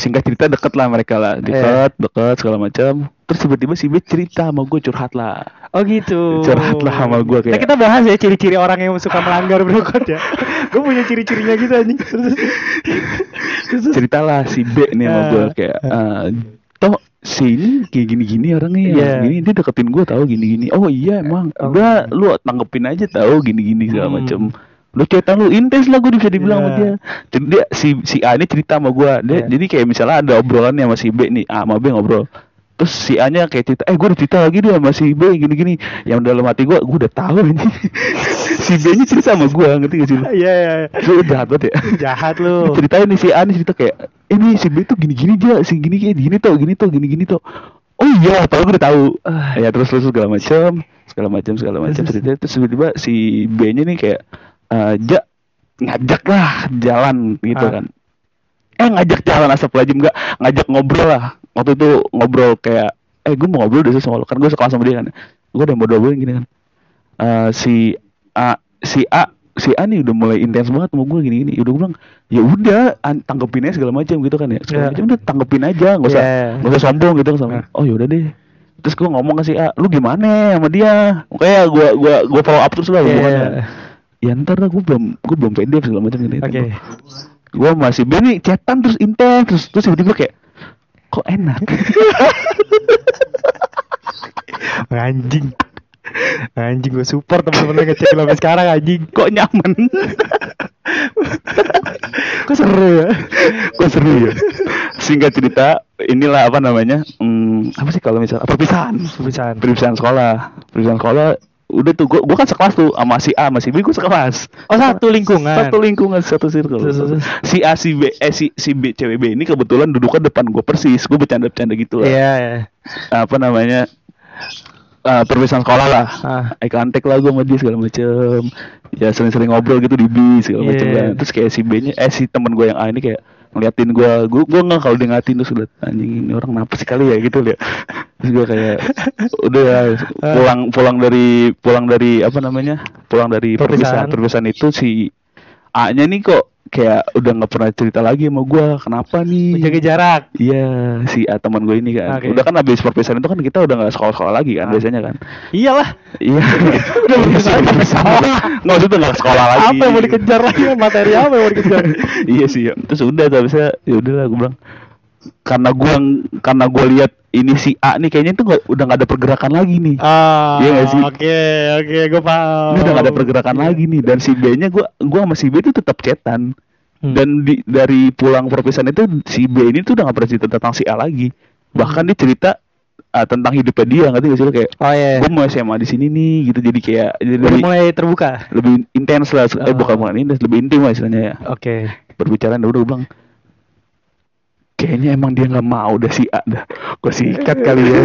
Speaker 2: singkat cerita deket lah mereka lah
Speaker 1: Iya.
Speaker 2: deket deket segala macam terus tiba-tiba si B cerita sama gue curhat lah
Speaker 1: Oh gitu.
Speaker 2: Curhat lah sama gua kayak-
Speaker 1: Nah, kita bahas ya ciri-ciri orang yang suka melanggar bro Kot, ya. gue punya ciri-cirinya gitu anjing. Terus, terus, terus.
Speaker 2: ceritalah si B nih sama
Speaker 1: Gitu. Ah.
Speaker 2: gue kayak eh, toh si ini kayak gini-gini orangnya ya,
Speaker 1: Iya.
Speaker 2: gini dia deketin gue tahu gini-gini oh iya emang
Speaker 1: Oh.
Speaker 2: udah lu tanggepin aja tahu gini-gini segala
Speaker 1: Hmm.
Speaker 2: macem lu cetan lu intens lah gue bisa dibilang
Speaker 1: Iya.
Speaker 2: sama dia jadi dia si si A ini cerita sama gue dia
Speaker 1: Iya.
Speaker 2: jadi kayak misalnya ada obrolannya sama si B nih A sama B ngobrol terus si A nya kayak cerita eh gue udah cerita lagi dia sama si B gini-gini yang dalam hati gue gue udah tahu ini si B nya cerita sama gue ngerti gak sih lu
Speaker 1: Iya, iya. iya.
Speaker 2: Lu jahat banget ya
Speaker 1: Jahat lu.
Speaker 2: ceritain nih si A nih cerita kayak ini si B tuh gini-gini aja si gini kayak gini tuh gini tuh gini-gini tuh oh iya tahu gue udah tahu Ah, ya terus terus segala macam segala macam segala macam
Speaker 1: Terus, terus.
Speaker 2: cerita terus tiba-tiba si B nya nih kayak eh ja ngajak lah jalan gitu
Speaker 1: Ah.
Speaker 2: kan eh ngajak jalan asap lagi enggak ngajak ngobrol lah waktu itu ngobrol kayak eh gue mau ngobrol dulu sama lo kan gue sekolah sama dia kan gue udah mau ngobrol gini kan Eh si A si A si A nih udah mulai intens banget sama gue gini gini udah gue bilang ya udah an- tanggepin aja segala macam gitu kan ya segala
Speaker 1: Iya.
Speaker 2: macam udah tanggepin aja nggak usah
Speaker 1: Iya.
Speaker 2: nggak usah sombong gitu sama oh yaudah deh terus gue ngomong ke si A lu gimana sama dia kayak gue gue gue follow up terus lah
Speaker 1: Iya,
Speaker 2: hubungannya.
Speaker 1: iya.
Speaker 2: ya ntar lah gue belum gue belum pede segala macam gitu
Speaker 1: Oke.
Speaker 2: gue masih B nih chatan terus intens terus terus tiba-tiba kayak kok enak
Speaker 1: Anjing. Anjing gue support teman-teman yang ngecek lo sampai sekarang anjing.
Speaker 2: kok nyaman
Speaker 1: Kok seru ya?
Speaker 2: kok seru ya singkat cerita inilah apa namanya hmm, apa sih kalau misalnya perpisahan
Speaker 1: Perpisahan.
Speaker 2: perpisahan sekolah perpisahan sekolah udah tuh gua, gua kan sekelas tuh sama si A sama si B gua sekelas
Speaker 1: Oh, satu lingkungan.
Speaker 2: satu lingkungan satu circle
Speaker 1: Terus, terus, terus.
Speaker 2: si A si B eh si, si B cewek B ini kebetulan duduknya depan gua persis gua bercanda-bercanda gitu lah
Speaker 1: Iya, iya.
Speaker 2: apa namanya eh perpisahan sekolah lah
Speaker 1: Ah.
Speaker 2: eye contact lah gue sama dia segala macem ya sering-sering ngobrol gitu di bis segala macem
Speaker 1: Iya.
Speaker 2: kan terus kayak si B nya eh si teman gue yang A ini kayak ngeliatin gue gue gue nggak kalau dia ngeliatin terus liat anjing ini orang kenapa sih kali ya gitu liat terus gue kayak udah ya,
Speaker 1: Ah.
Speaker 2: pulang pulang dari pulang dari apa namanya pulang dari
Speaker 1: Perpisahan.
Speaker 2: perpisahan perpisahan itu si A nya nih kok kayak udah nggak pernah cerita lagi sama gue kenapa nih
Speaker 1: Menjaga jarak.
Speaker 2: Iya si ah, teman gue ini kan,
Speaker 1: Oke.
Speaker 2: udah kan habis perpisahan itu kan kita udah nggak sekolah-sekolah lagi kan
Speaker 1: Ah.
Speaker 2: biasanya kan.
Speaker 1: Iyalah.
Speaker 2: Iya.
Speaker 1: Udah perpisahan, nggak sekolah.
Speaker 2: Nggak maksudnya nggak sekolah lagi.
Speaker 1: Apa yang mau dikejar lagi? Materi apa yang mau dikejar?
Speaker 2: iya sih. Ya. Terus udah tapi saya ya udahlah gue bilang karena gue karena gue lihat ini si A nih kayaknya itu nggak- udah nggak ada pergerakan lagi nih.
Speaker 1: Ah,
Speaker 2: Iya nggak sih?
Speaker 1: Oke, oke, gue paham.
Speaker 2: Ini udah
Speaker 1: Oh.
Speaker 2: nggak ada pergerakan lagi nih dan si B-nya gue gue sama si B itu tetap cetan.
Speaker 1: Hmm.
Speaker 2: Dan di, dari pulang perpisahan itu si B ini tuh udah gak pernah cerita tentang si A lagi. Bahkan dia cerita ah, tentang hidupnya dia ngerti gak sih lo? kayak
Speaker 1: Oh iya.
Speaker 2: gue mau SMA di sini nih gitu jadi kayak jadi
Speaker 1: Udah
Speaker 2: lebih,
Speaker 1: mulai terbuka.
Speaker 2: lebih intens lah eh,
Speaker 1: Ah.
Speaker 2: bukan bukan intens lebih intim lah istilahnya ya
Speaker 1: Oke.
Speaker 2: berbicara udah udah bilang kayaknya emang dia nggak mau udah si A dah gue sikat kali ya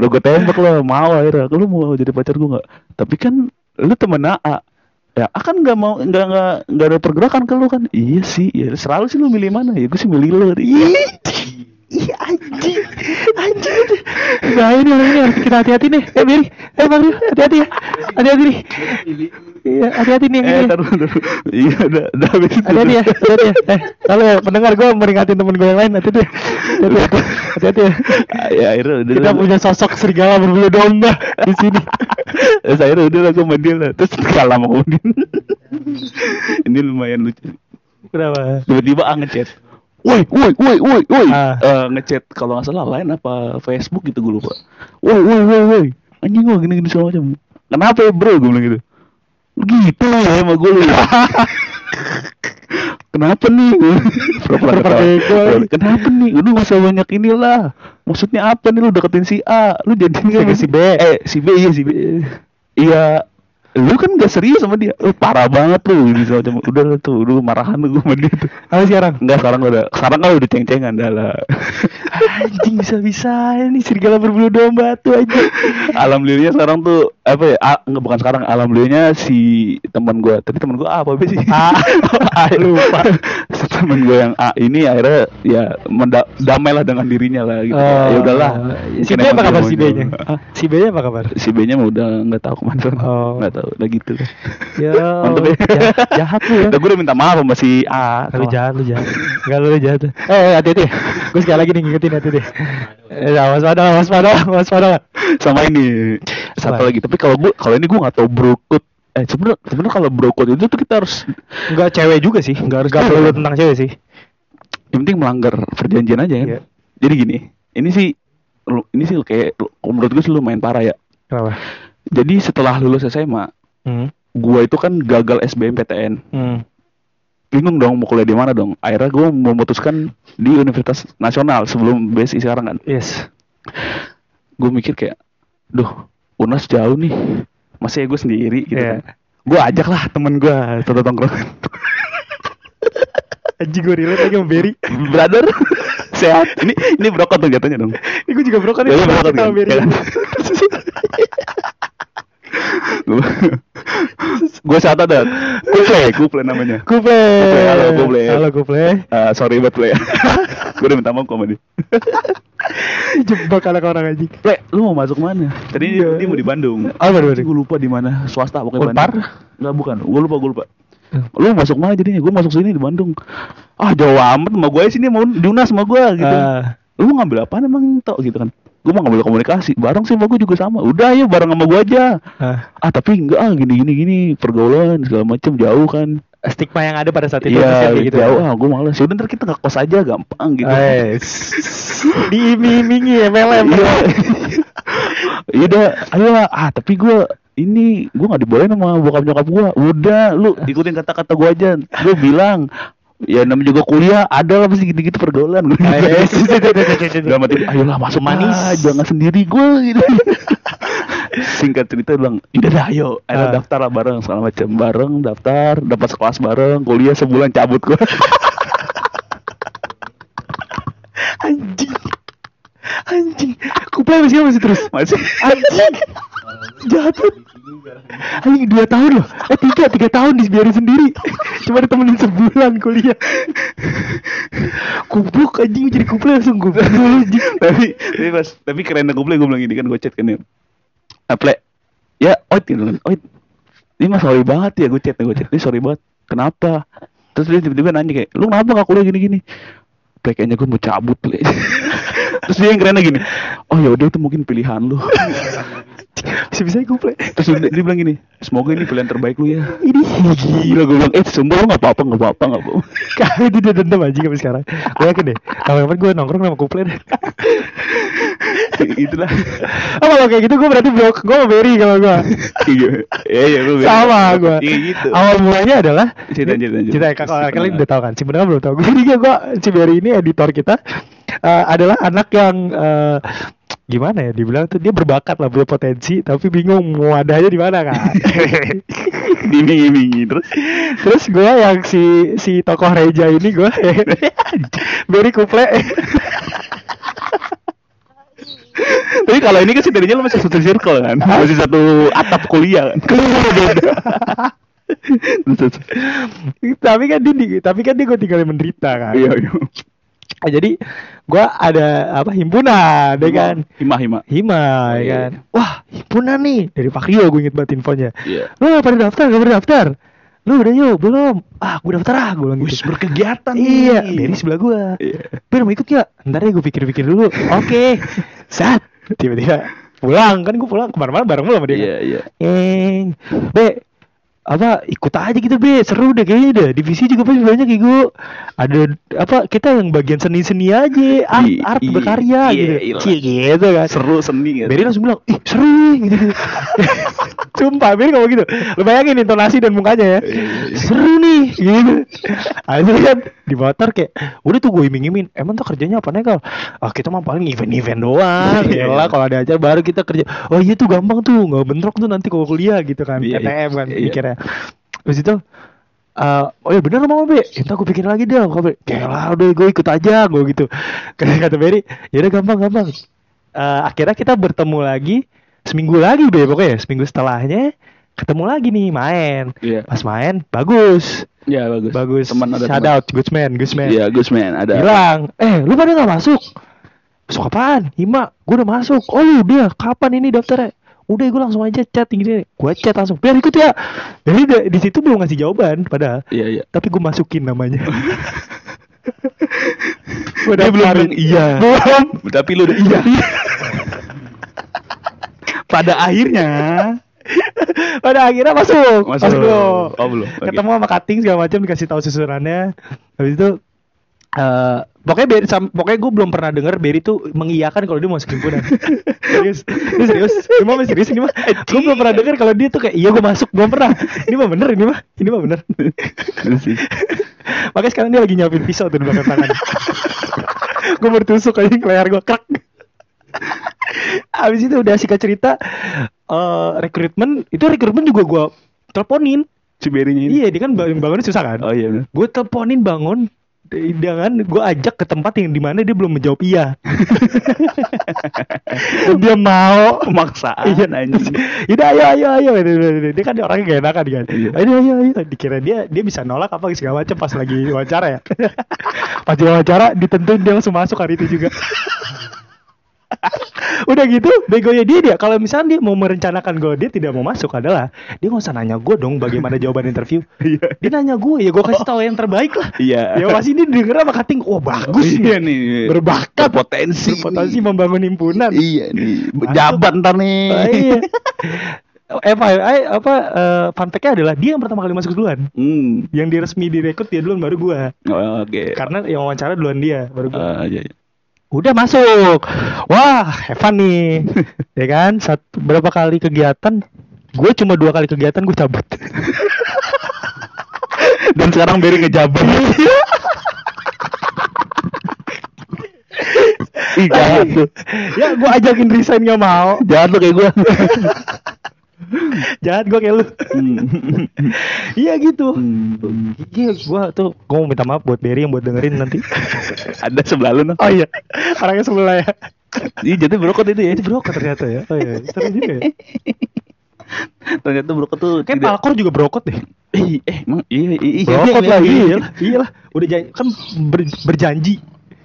Speaker 2: lo gue tembak lo mau akhirnya lo mau jadi pacar gue nggak tapi kan lu temen A ya A kan nggak mau nggak nggak nggak ada pergerakan ke lu kan iya sih ya selalu sih lu milih mana ya gue sih milih lo iya
Speaker 1: Iya anjing, anjing. Nah ini loh ini harus kita hati-hati nih. Eh Biri, eh Bang Rio, hati-hati ya. Hati-hati nih. Iya, hati-hati nih yang
Speaker 2: eh
Speaker 1: ini.
Speaker 2: taruh taruh iya udah udah habis itu.
Speaker 1: Hati-hati ya, hati-hati ya. Eh, kalau ya, pendengar gue meringatin temen gue yang lain, hati-hati ya. Hati-hati ya. Hati-hati ya.
Speaker 2: ya akhirnya udah
Speaker 1: Kita
Speaker 2: lah.
Speaker 1: punya sosok serigala berbulu domba di sini.
Speaker 2: terus akhirnya udah lah gue sama dia lah terus kalah sama Udin ini lumayan lucu
Speaker 1: Kenapa?
Speaker 2: tiba-tiba A ngechat woi woi woi woi woi
Speaker 1: Ah.
Speaker 2: Eh, ngechat kalau nggak salah lain apa Facebook gitu gue lupa woi woi woi woi anjing gue gini gini segala macam kenapa ya bro gue bilang gitu gitu ya sama gue lu kenapa nih Pura-pura ketawa.
Speaker 1: Bego.
Speaker 2: kenapa nih lu gak usah banyak inilah maksudnya apa nih lu deketin si A lu jadi
Speaker 1: Sama si B.
Speaker 2: eh si B iya si B iya lu kan gak serius sama dia lu parah banget lu gitu segala macam udah lah tuh lu marahan lu sama dia tuh
Speaker 1: Apa sekarang?
Speaker 2: Enggak sekarang udah sekarang kan udah ceng-cengan dah lah.
Speaker 1: anjing bisa bisa ini serigala berbulu domba tuh anjing
Speaker 2: Alhamdulillah sekarang tuh apa ya? ah, enggak, bukan sekarang. Alhamdulillahnya si teman gua tadi teman gua A apa sih?
Speaker 1: A.
Speaker 2: A lupa. teman gua yang A ini akhirnya ya menda- damai lah dengan dirinya lah gitu. ya udahlah.
Speaker 1: Oh. si
Speaker 2: Mungkin
Speaker 1: Eh, B
Speaker 2: emang
Speaker 1: apa kabar
Speaker 2: dia
Speaker 1: si B
Speaker 2: mau
Speaker 1: nya
Speaker 2: jomblo. Ah,
Speaker 1: si B nya apa kabar
Speaker 2: Si B-nya mah udah nggak tahu kemana.
Speaker 1: Oh.
Speaker 2: Nggak tahu. Udah gitu. lah.
Speaker 1: Ya,
Speaker 2: Mantep ya.
Speaker 1: jahat- jahat lu ya.
Speaker 2: Udah gua udah minta maaf sama si A. Salah.
Speaker 1: Lu jahat, lu jahat. Enggak lu jahat. Eh, eh, hati-hati. Gue sekali lagi nih ngikutin hati-hati. Eh, ya, waspada, waspada, waspada.
Speaker 2: sama ini satu
Speaker 1: Apa?
Speaker 2: lagi tapi kalau gua kalau ini gua nggak tahu brokut eh sebenarnya sebenarnya kalau brokut itu tuh kita harus
Speaker 1: Enggak cewek juga sih. Enggak enggak perlu tentang cewek sih.
Speaker 2: yang penting melanggar perjanjian aja kan
Speaker 1: Iya.
Speaker 2: jadi gini ini sih lu- ini sih kayak lu- menurut gue sih lumayan parah ya
Speaker 1: Kenapa?
Speaker 2: jadi setelah lulus SMA
Speaker 1: Hmm.
Speaker 2: gua itu kan gagal SBMPTN
Speaker 1: Hmm.
Speaker 2: bingung dong mau kuliah di mana dong akhirnya gua memutuskan di Universitas Nasional sebelum BSI sekarang kan
Speaker 1: Yes.
Speaker 2: gue mikir kayak duh unas jauh nih masih gue sendiri gitu kan
Speaker 1: Iya.
Speaker 2: gue ajak lah temen gue satu tongkrongan
Speaker 1: Anjing gue relate lagi sama Berry.
Speaker 2: brother sehat ini ini brokot tuh jatuhnya dong
Speaker 1: Ini gue juga brokan
Speaker 2: Ya,
Speaker 1: nih
Speaker 2: lu berangkat
Speaker 1: sama
Speaker 2: kan?
Speaker 1: Berry.
Speaker 2: Ya kan? gue saat ada kuple kuple namanya
Speaker 1: Kuple.
Speaker 2: Kuple, halo, Kuple.
Speaker 1: Halo Kuple.
Speaker 2: Eh, sorry buat play gue udah minta maaf sama dia
Speaker 1: Jebak anak orang anjing.
Speaker 2: play lu mau masuk mana tadi dia,
Speaker 1: Iya.
Speaker 2: dia mau di Bandung
Speaker 1: Oh, baru
Speaker 2: gue lupa di mana swasta pokoknya
Speaker 1: Unpar?
Speaker 2: Enggak bukan, gue lupa gue lupa. Lu masuk mana jadinya? Gue masuk sini di Bandung. Ah jauh amat sama gue sini mau diunas sama gue gitu. Lu ngambil apa emang tok gitu kan? Gue mau ngambil komunikasi, bareng sih sama gue juga sama. Udah ya bareng sama gue aja. Ah tapi enggak ah gini gini gini pergaulan segala macem jauh kan.
Speaker 1: stigma yang ada pada saat itu
Speaker 2: Iya
Speaker 1: pasti kayak gitu.
Speaker 2: jauh ah gue males. Yaudah ntar kita ngekos aja gampang gitu.
Speaker 1: Eh, diiming-imingi MLM.
Speaker 2: Iya. Iya udah, ayo lah. Ah, tapi gue ini gue nggak dibolehin sama bokap nyokap gue. Udah, lu ikutin kata-kata gue aja. Gue bilang, ya namanya juga kuliah, ada lah pasti gitu-gitu pergaulan. Gua bilang.
Speaker 1: Eh, eh, eh, eh, eh, eh, eh, eh.
Speaker 2: Dalam hati, ayolah masuk manis,
Speaker 1: Manis.
Speaker 2: jangan sendiri gue gitu. Singkat cerita bilang, udah dah ayo, ayo
Speaker 1: Ah.
Speaker 2: daftar lah bareng segala macam bareng, daftar, dapat sekelas bareng, kuliah sebulan cabut gue.
Speaker 1: Anjing. Anjing. Aku play masih masih terus.
Speaker 2: Masih
Speaker 1: Anjing. Jahat. banget. Anjing dua tahun loh. Eh tiga tiga tahun dibiarin sendiri. Cuma ditemenin sebulan kuliah. Kubluk anjing jadi kuplay langsung gue dulu anjing.
Speaker 2: tapi tapi pas tapi kerennya gue bilang gue bilang gini kan gue chat kan ya aple ya oit gitu kan oit ini mah sorry banget ya gue chat gue chat ini sorry banget kenapa terus dia tiba-tiba nanya kayak lu kenapa gak kuliah gini-gini Ple kayaknya gue mau cabut Ple terus dia yang kerennya gini oh ya udah itu mungkin pilihan lu
Speaker 1: Bisa bisa kuplay.
Speaker 2: terus dia, dia bilang gini semoga ini pilihan terbaik lu ya
Speaker 1: Ini
Speaker 2: gila gue bilang eh sumpah lu gak apa-apa gak apa-apa gak apa-apa
Speaker 1: Kali dia dendam anjing sampai sekarang. Gue yakin deh. Kapan-kapan gue nongkrong sama kuplay deh.
Speaker 2: itulah
Speaker 1: Oh, kalau kayak gitu gue berarti blok gue mau beri kalau gue
Speaker 2: Kayak gitu. ya ya gue bilang.
Speaker 1: sama gue
Speaker 2: Iya, gitu
Speaker 1: awal mulanya adalah
Speaker 2: Cerita, cerita, cerita.
Speaker 1: cerita kalau kalian udah tahu kan sebenarnya belum tahu jadi gue gue si Berry ini editor kita eh, adalah anak yang eh, gimana ya dibilang tuh dia berbakat lah berpotensi tapi bingung mau adanya di mana kan
Speaker 2: diiming-imingi terus
Speaker 1: terus gue yang si si tokoh Reja ini gue Berry kuple
Speaker 2: tapi kalau ini kan setidaknya lu masih satu circle kan masih satu atap kuliah kan Terus, terus.
Speaker 1: tapi kan dia di- tapi kan dia gue tinggalin menderita kan
Speaker 2: iya iya
Speaker 1: Ah, jadi gua ada apa himpunan ya kan
Speaker 2: hima hima
Speaker 1: hima ya
Speaker 2: Iya.
Speaker 1: kan wah himpunan nih dari Pak Rio gue inget banget infonya
Speaker 2: Iya.
Speaker 1: lu gak pada daftar gak pada daftar lu udah yuk belum ah gue daftar ah gue bilang
Speaker 2: Wis
Speaker 1: gitu
Speaker 2: berkegiatan
Speaker 1: iya dari sebelah gua
Speaker 2: Iya.
Speaker 1: Ber mau ikut gak? Ntar deh gue pikir-pikir dulu Oke Saat Tiba-tiba pulang Kan gue pulang kemana-mana bareng mulu sama dia kan?
Speaker 2: iya iya
Speaker 1: Eng, be apa ikut aja gitu be seru deh kayaknya deh divisi juga pasti banyak ego ada apa kita yang bagian seni seni aja art
Speaker 2: I-
Speaker 1: art
Speaker 2: i- iya,
Speaker 1: berkarya gitu
Speaker 2: iyalah.
Speaker 1: Cie, gitu kan
Speaker 2: seru seni kan
Speaker 1: Beri langsung bilang ih seru gitu sumpah Beri ngomong gitu lo bayangin intonasi dan mukanya ya
Speaker 2: Iya, iya, iya.
Speaker 1: seru nih gitu akhirnya kan di motor kayak udah tuh gue iming-imin emang tuh kerjanya apa nih kal ah kita mah paling event-event doang
Speaker 2: Iya,
Speaker 1: ya
Speaker 2: iya.
Speaker 1: lah kalau ada acara baru kita kerja oh iya tuh gampang tuh nggak bentrok tuh nanti kalau kuliah gitu kan
Speaker 2: Iya, iya.
Speaker 1: PTM kan
Speaker 2: Iya.
Speaker 1: pikirnya terus itu eh, oh ya bener mau be entah gue pikir lagi deh gue Ya lah udah gue ikut aja gue gitu kata kata Berry ya udah gampang gampang Eh, akhirnya kita bertemu lagi seminggu lagi be pokoknya seminggu setelahnya ketemu lagi nih main
Speaker 2: Iya.
Speaker 1: pas main bagus
Speaker 2: Iya bagus.
Speaker 1: bagus
Speaker 2: Teman ada
Speaker 1: shout
Speaker 2: teman.
Speaker 1: out Gusman Gusman
Speaker 2: Iya, Gusman ada.
Speaker 1: bilang eh lu pada nggak masuk masuk apaan Hima gue udah masuk oh lu udah kapan ini daftarnya udah gue langsung aja chat gini gue chat langsung biar ikut ya jadi da- di situ belum ngasih jawaban padahal
Speaker 2: Iya, iya.
Speaker 1: tapi gue masukin namanya Gua
Speaker 2: Dia belum
Speaker 1: daftarin.
Speaker 2: bilang iya.
Speaker 1: belum
Speaker 2: Tapi lu udah iya. Pada akhirnya
Speaker 1: pada akhirnya masuk
Speaker 2: Masuk.
Speaker 1: masuk dulu
Speaker 2: Oh, belum. Oke.
Speaker 1: ketemu sama cutting segala macam dikasih tahu susunannya habis itu eh pokoknya Barry, sam- pokoknya gue belum pernah denger Berry tuh mengiyakan kalau dia mau masuk himpunan serius ini serius ini mah serius ini mah gue belum pernah denger kalau dia tuh kayak iya gue masuk belum pernah ini mah bener ini mah ini mah bener makanya sekarang dia lagi nyiapin pisau tuh di belakang tangan gue bertusuk aja ke layar gue krak Abis itu udah singkat cerita eh rekrutmen itu rekrutmen juga gue teleponin
Speaker 2: si Berinya ini.
Speaker 1: iya dia kan bangun bangunnya susah kan
Speaker 2: Oh iya bener.
Speaker 1: gue teleponin bangun d- dengan gue ajak ke tempat yang dimana dia belum menjawab iya Dan dia mau
Speaker 2: Pemaksaan
Speaker 1: Iya
Speaker 2: anjing.
Speaker 1: Yaudah ayo ayo ayo Dia kan orangnya gak enakan kan
Speaker 2: Iya.
Speaker 1: Ayo ayo ayo Dikira dia dia bisa nolak apa segala macam pas lagi wawancara ya Pas lagi wawancara ditentuin dia langsung masuk hari itu juga Udah gitu begonya dia dia Kalau misalnya dia mau merencanakan gue Dia tidak mau masuk adalah Dia gak usah nanya gue dong bagaimana jawaban interview
Speaker 2: Iya.
Speaker 1: Dia nanya gue ya gue kasih tahu yang terbaik lah
Speaker 2: Oh. Iya.
Speaker 1: Ya pasti dia denger sama kating Wah bagus
Speaker 2: Iya
Speaker 1: nih.
Speaker 2: nih.
Speaker 1: Berbakat
Speaker 2: Berpotensi.
Speaker 1: Berpotensi
Speaker 2: nih.
Speaker 1: membangun himpunan
Speaker 2: Iya nih. Jabat ntar nih.
Speaker 1: Oh, iya. FYI apa eh, fun fact-nya adalah dia yang pertama kali masuk duluan.
Speaker 2: Hmm.
Speaker 1: Yang diresmi direkrut dia duluan baru gua.
Speaker 2: Oh, Oke.
Speaker 1: Karena yang wawancara duluan dia baru gua.
Speaker 2: Ah, iya, iya.
Speaker 1: Eh, Udah masuk. Wah, have fun nih.
Speaker 2: iya.
Speaker 1: ya kan? Satu, berapa kali kegiatan? Gue cuma dua kali kegiatan gue cabut.
Speaker 2: Dan sekarang Beri ngejabat. Ih, jahat tuh.
Speaker 1: ya gue ajakin resign gak mau.
Speaker 2: Jahat lu kayak gue.
Speaker 1: Jahat gue kayak lu. Iya gitu.
Speaker 2: Hmm.
Speaker 1: Iya, gue tuh gue mau minta maaf buat Berry yang buat dengerin nanti.
Speaker 2: Ada sebelah lu, Noh.
Speaker 1: oh iya, orangnya sebelah ya.
Speaker 2: Iya, jadi brokot itu ya.
Speaker 1: Itu brokot ternyata ya. Oh iya, seru juga ya.
Speaker 2: Ternyata brokot tuh
Speaker 1: Kayak
Speaker 2: tidak-
Speaker 1: palkor juga brokot deh.
Speaker 2: Ih, eh, emang iya iya iya.
Speaker 1: Brokot
Speaker 2: iya,
Speaker 1: lah,
Speaker 2: iya,
Speaker 1: iya lah, iya lah. Udah janji, kan ber- berjanji.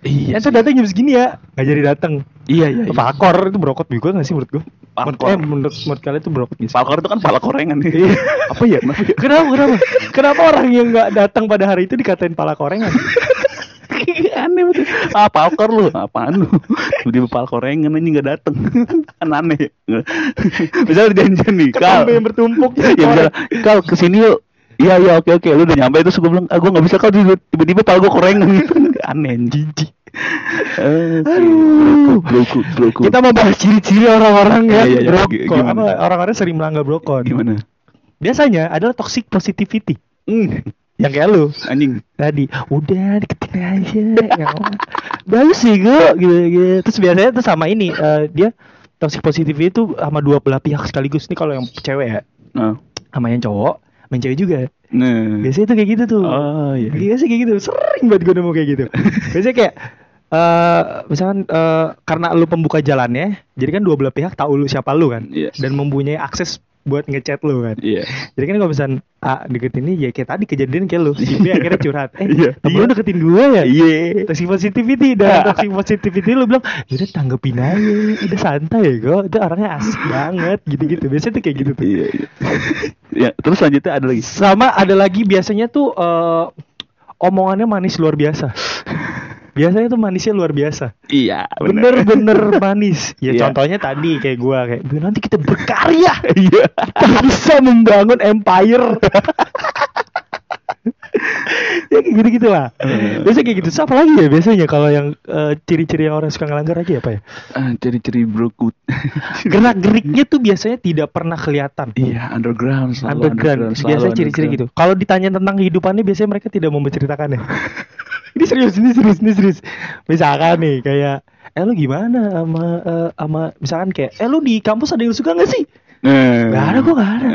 Speaker 2: Iya.
Speaker 1: Ya, saya datang jam segini ya. Gak jadi datang.
Speaker 2: Iya, iya. iya.
Speaker 1: Palkor itu brokot juga gak sih menurut gua?
Speaker 2: Palkor.
Speaker 1: Eh, menurut, menurut kalian itu brokot gak sih?
Speaker 2: Palkor itu kan pala korengan
Speaker 1: Iya.
Speaker 2: Apa ya? Kenapa ya?
Speaker 1: Kenapa, kenapa? kenapa orang yang gak datang pada hari itu dikatain pala korengan?
Speaker 2: Iya, aneh betul. Ah, palkor lu. Apaan lu? Tiba-tiba pala korengan anjing enggak dateng kan aneh. ya? Misalnya janjian nih, Kal.
Speaker 1: Ketombe Kan yang bertumpuk.
Speaker 2: Ya misalnya, Kal kesini yuk. Iya iya oke oke lu udah nyampe terus gue bilang ah gue nggak bisa kal tiba- tiba-tiba pala gue korengan aneh jijik Eh,
Speaker 1: Aduh.
Speaker 2: brokot brokot
Speaker 1: Kita mau bahas ciri-ciri orang-orang
Speaker 2: Iya,
Speaker 1: yang
Speaker 2: iya, iya.
Speaker 1: brokot.
Speaker 2: Gimana?
Speaker 1: Apa, Orang-orang sering melanggar brokot.
Speaker 2: gimana
Speaker 1: Biasanya adalah toxic positivity.
Speaker 2: Hmm,
Speaker 1: Yang kayak lu.
Speaker 2: anjing
Speaker 1: tadi udah deketin aja ya Allah. bagus sih gue gitu, gitu terus biasanya tuh sama ini eh, dia toxic positivity itu sama dua belah pihak sekaligus nih kalau yang cewek ya
Speaker 2: nah
Speaker 1: sama yang cowok main cewek juga
Speaker 2: nah
Speaker 1: biasanya tuh kayak gitu tuh
Speaker 2: Oh iya.
Speaker 1: biasanya kayak gitu sering banget gue nemu kayak gitu biasanya kayak eh misalkan eh, karena lu pembuka jalannya jadi kan dua belah pihak tahu lu siapa lu kan
Speaker 2: Iya.
Speaker 1: dan mempunyai akses buat ngechat lu kan
Speaker 2: Iya.
Speaker 1: jadi kan kalau misalnya A deketin ini ya kayak tadi kejadian kayak lu Si B akhirnya curhat Eh
Speaker 2: Iya,
Speaker 1: temen
Speaker 2: iya.
Speaker 1: lu deketin gue ya
Speaker 2: Iya.
Speaker 1: Toxic positivity Dan toxic positivity lu bilang Yaudah tanggepin aja Udah santai ya gue Itu orangnya asik banget Gitu-gitu Biasanya tuh kayak gitu tuh
Speaker 2: Iya. iya. Ya, terus selanjutnya ada lagi.
Speaker 1: Sama ada lagi biasanya tuh eh, Omongannya manis luar biasa Biasanya tuh manisnya luar biasa
Speaker 2: Iya,
Speaker 1: Iya. Bener-bener manis Ya
Speaker 2: Iya.
Speaker 1: contohnya tadi kayak gue Kayak "Duh, nanti kita berkarya
Speaker 2: Iya.
Speaker 1: kita bisa membangun empire ya kayak gitu gitulah
Speaker 2: Hmm.
Speaker 1: biasanya kayak gitu Terus apa lagi ya biasanya kalau yang eh, ciri-ciri yang orang suka ngelanggar lagi apa ya
Speaker 2: Ah, ciri-ciri brokut.
Speaker 1: gerak geriknya tuh biasanya tidak pernah kelihatan
Speaker 2: Iya, underground selalu
Speaker 1: underground
Speaker 2: selalu
Speaker 1: biasanya ciri-ciri gitu
Speaker 2: underground.
Speaker 1: kalau ditanya tentang kehidupannya biasanya mereka tidak mau menceritakannya ini serius ini serius ini serius misalkan nih kayak eh lu gimana sama eh, sama misalkan kayak eh lu di kampus ada yang suka gak sih Gak ada, gua gak ada.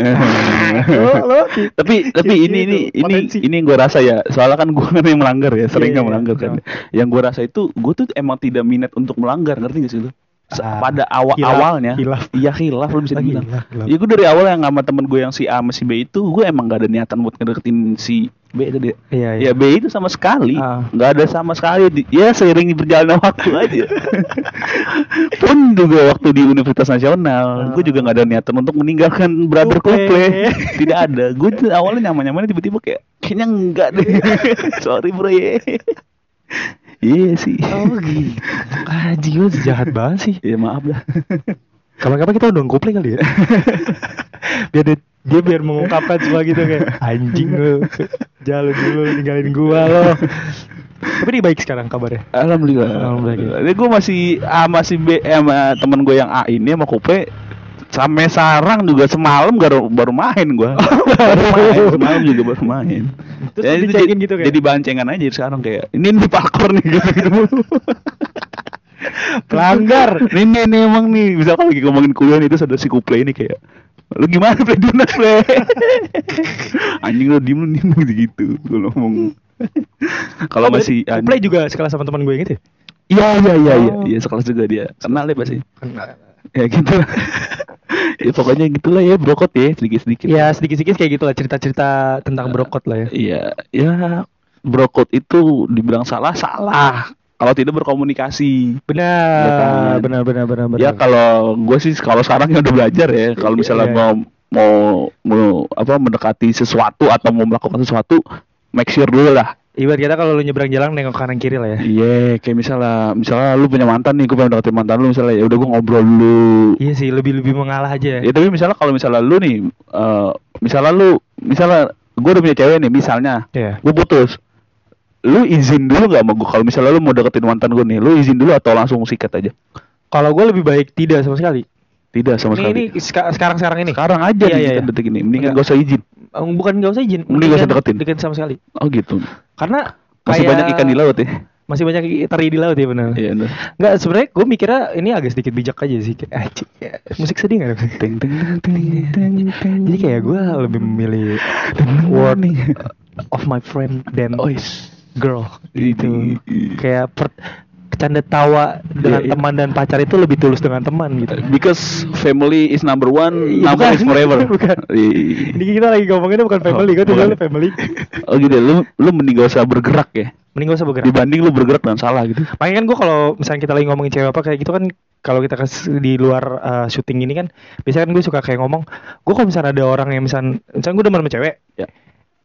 Speaker 1: Lo- lo
Speaker 2: Hmm.
Speaker 1: ki-
Speaker 2: tapi tapi
Speaker 1: ki-
Speaker 2: ini
Speaker 1: itu,
Speaker 2: ini ini
Speaker 1: potensi.
Speaker 2: ini gue rasa ya soalnya kan gue kan yang melanggar ya sering
Speaker 1: Iya,
Speaker 2: nggak
Speaker 1: iya,
Speaker 2: melanggar kan yang gue rasa itu gue tuh emang tidak minat untuk melanggar ngerti gak sih lu Se-
Speaker 1: Ah,
Speaker 2: pada awal
Speaker 1: hilaf,
Speaker 2: awalnya
Speaker 1: hilaf.
Speaker 2: iya hilaf lu bisa
Speaker 1: Lagi Iya,
Speaker 2: dibilang
Speaker 1: hilaf, hilaf.
Speaker 2: ya gue dari awal yang sama temen gue yang si A sama si B itu gue emang gak ada niatan buat ngedeketin si B tadi
Speaker 1: Iya,
Speaker 2: ya
Speaker 1: iya.
Speaker 2: B itu sama sekali
Speaker 1: Ah.
Speaker 2: nggak ada sama sekali di- ya seiring berjalannya waktu
Speaker 1: Iya.
Speaker 2: aja pun juga waktu di Universitas
Speaker 1: Ah.
Speaker 2: Nasional gue juga nggak ada niatan untuk meninggalkan brother
Speaker 1: Kuple.
Speaker 2: Kuple tidak ada gue tuh awalnya nyaman nyaman tiba-tiba kayak kayaknya enggak deh sorry bro ya iya sih
Speaker 1: Oh gitu. Anjing lu jahat banget sih.
Speaker 2: ya maaf lah
Speaker 1: Kapan-kapan kita undang kopling kali ya. biar dia, dia biar mengungkapkan semua gitu kayak anjing lu. Jalan dulu ninggalin gua lo. Tapi dia baik sekarang kabarnya.
Speaker 2: Alhamdulillah.
Speaker 1: Alhamdulillah.
Speaker 2: Ini gue masih A masih B eh, sama temen gue yang A ini sama Kupe sampai sarang juga semalam baru baru main gue. baru main semalam juga baru main.
Speaker 1: Terus
Speaker 2: Ya,
Speaker 1: lu
Speaker 2: itu
Speaker 1: dicekin
Speaker 2: jadi-
Speaker 1: gitu kayak?
Speaker 2: Jadi bancengan aja sekarang kayak ini ini parkour nih gitu gitu mulu.
Speaker 1: Pelanggar.
Speaker 2: Ini ini, ini emang nih bisa kalau lagi ngomongin kuliah itu ada si Kuple ini kayak lu gimana play dinas play anjing lu diem lu diem gitu gue ngomong kalau
Speaker 1: Oh, berarti
Speaker 2: masih
Speaker 1: Kuplai juga sekelas sama teman gue gitu ya?
Speaker 2: Iya iya iya iya
Speaker 1: Oh.
Speaker 2: iya sekelas juga dia kenal ya pasti
Speaker 1: Iya,
Speaker 2: ya gitu lah. ya pokoknya gitulah ya brokot ya sedikit sedikit
Speaker 1: Ya sedikit-sedikit kayak gitu lah cerita-cerita tentang brokot lah ya.
Speaker 2: iya ya brokot itu dibilang salah salah kalau tidak berkomunikasi Iya
Speaker 1: Benar,
Speaker 2: kan?
Speaker 1: benar, benar, benar, benar.
Speaker 2: ya kalau gue sih kalau sekarang ya udah belajar ya kalau
Speaker 1: Iya,
Speaker 2: misalnya
Speaker 1: iya.
Speaker 2: mau mau mau apa mendekati sesuatu atau mau melakukan sesuatu make sure dulu lah
Speaker 1: Ibarat kata kalau lu nyebrang jalan nengok kanan kiri lah ya.
Speaker 2: iya kayak misalnya misalnya lu punya mantan nih gue pengen deketin mantan lu misalnya ya udah gue ngobrol dulu
Speaker 1: Iya sih, lebih-lebih mengalah aja.
Speaker 2: Ya tapi misalnya kalau misalnya lu nih, eh misalnya lu, misalnya gue udah punya cewek nih, misalnya,
Speaker 1: Iya.
Speaker 2: gue putus, lu izin dulu nggak sama gue? Kalau misalnya lu mau deketin mantan gue nih, lu izin dulu atau langsung sikat aja?
Speaker 1: Kalau gue lebih baik tidak sama sekali.
Speaker 2: Tidak sama
Speaker 1: Ini, ini
Speaker 2: sekali.
Speaker 1: seka- sekarang-sekarang ini.
Speaker 2: Sekarang aja
Speaker 1: Iya,
Speaker 2: nih,
Speaker 1: iya,
Speaker 2: kita
Speaker 1: iya.
Speaker 2: detik ini, mendingan
Speaker 1: Enggak.
Speaker 2: gak usah izin.
Speaker 1: Em, Bukan gak usah izin.
Speaker 2: Mending nggak usah deketin.
Speaker 1: Deketin sama sekali.
Speaker 2: Oh gitu.
Speaker 1: Karena
Speaker 2: Masih
Speaker 1: kayak- Iya,
Speaker 2: banyak ikan di laut ya?
Speaker 1: Masih banyak i- teri di laut ya benar.
Speaker 2: Iya. nah.
Speaker 1: Enggak, sebenarnya gue mikirnya ini agak sedikit bijak aja sih. Kayak, ah, cik, ya, musik sedih gak?
Speaker 2: Ting ting ting ting ting ting.
Speaker 1: Jadi kayak gue lebih memilih word of my friend than
Speaker 2: Ois.
Speaker 1: girl gitu.
Speaker 2: Ini-
Speaker 1: Kayak per, canda tawa dengan
Speaker 2: Iya, iya.
Speaker 1: teman dan pacar itu lebih tulus dengan teman gitu.
Speaker 2: Because family is number one,
Speaker 1: Iya,
Speaker 2: number
Speaker 1: bukan.
Speaker 2: is forever.
Speaker 1: Bukan.
Speaker 2: Iya.
Speaker 1: Ini kita lagi ngomonginnya bukan family, gue
Speaker 2: Oh, bukan.
Speaker 1: tuh family.
Speaker 2: Oh gitu, ya, lu lu mending gak usah bergerak ya.
Speaker 1: Mending gue usah bergerak.
Speaker 2: Dibanding lu bergerak dan salah gitu.
Speaker 1: Makanya kan gue kalau misalnya kita lagi ngomongin cewek apa kayak gitu kan kalau kita kes- di luar uh, syuting ini kan biasanya kan gue suka kayak ngomong gue kalau misalnya ada orang yang misalnya misalnya gue demen sama cewek
Speaker 2: Ya.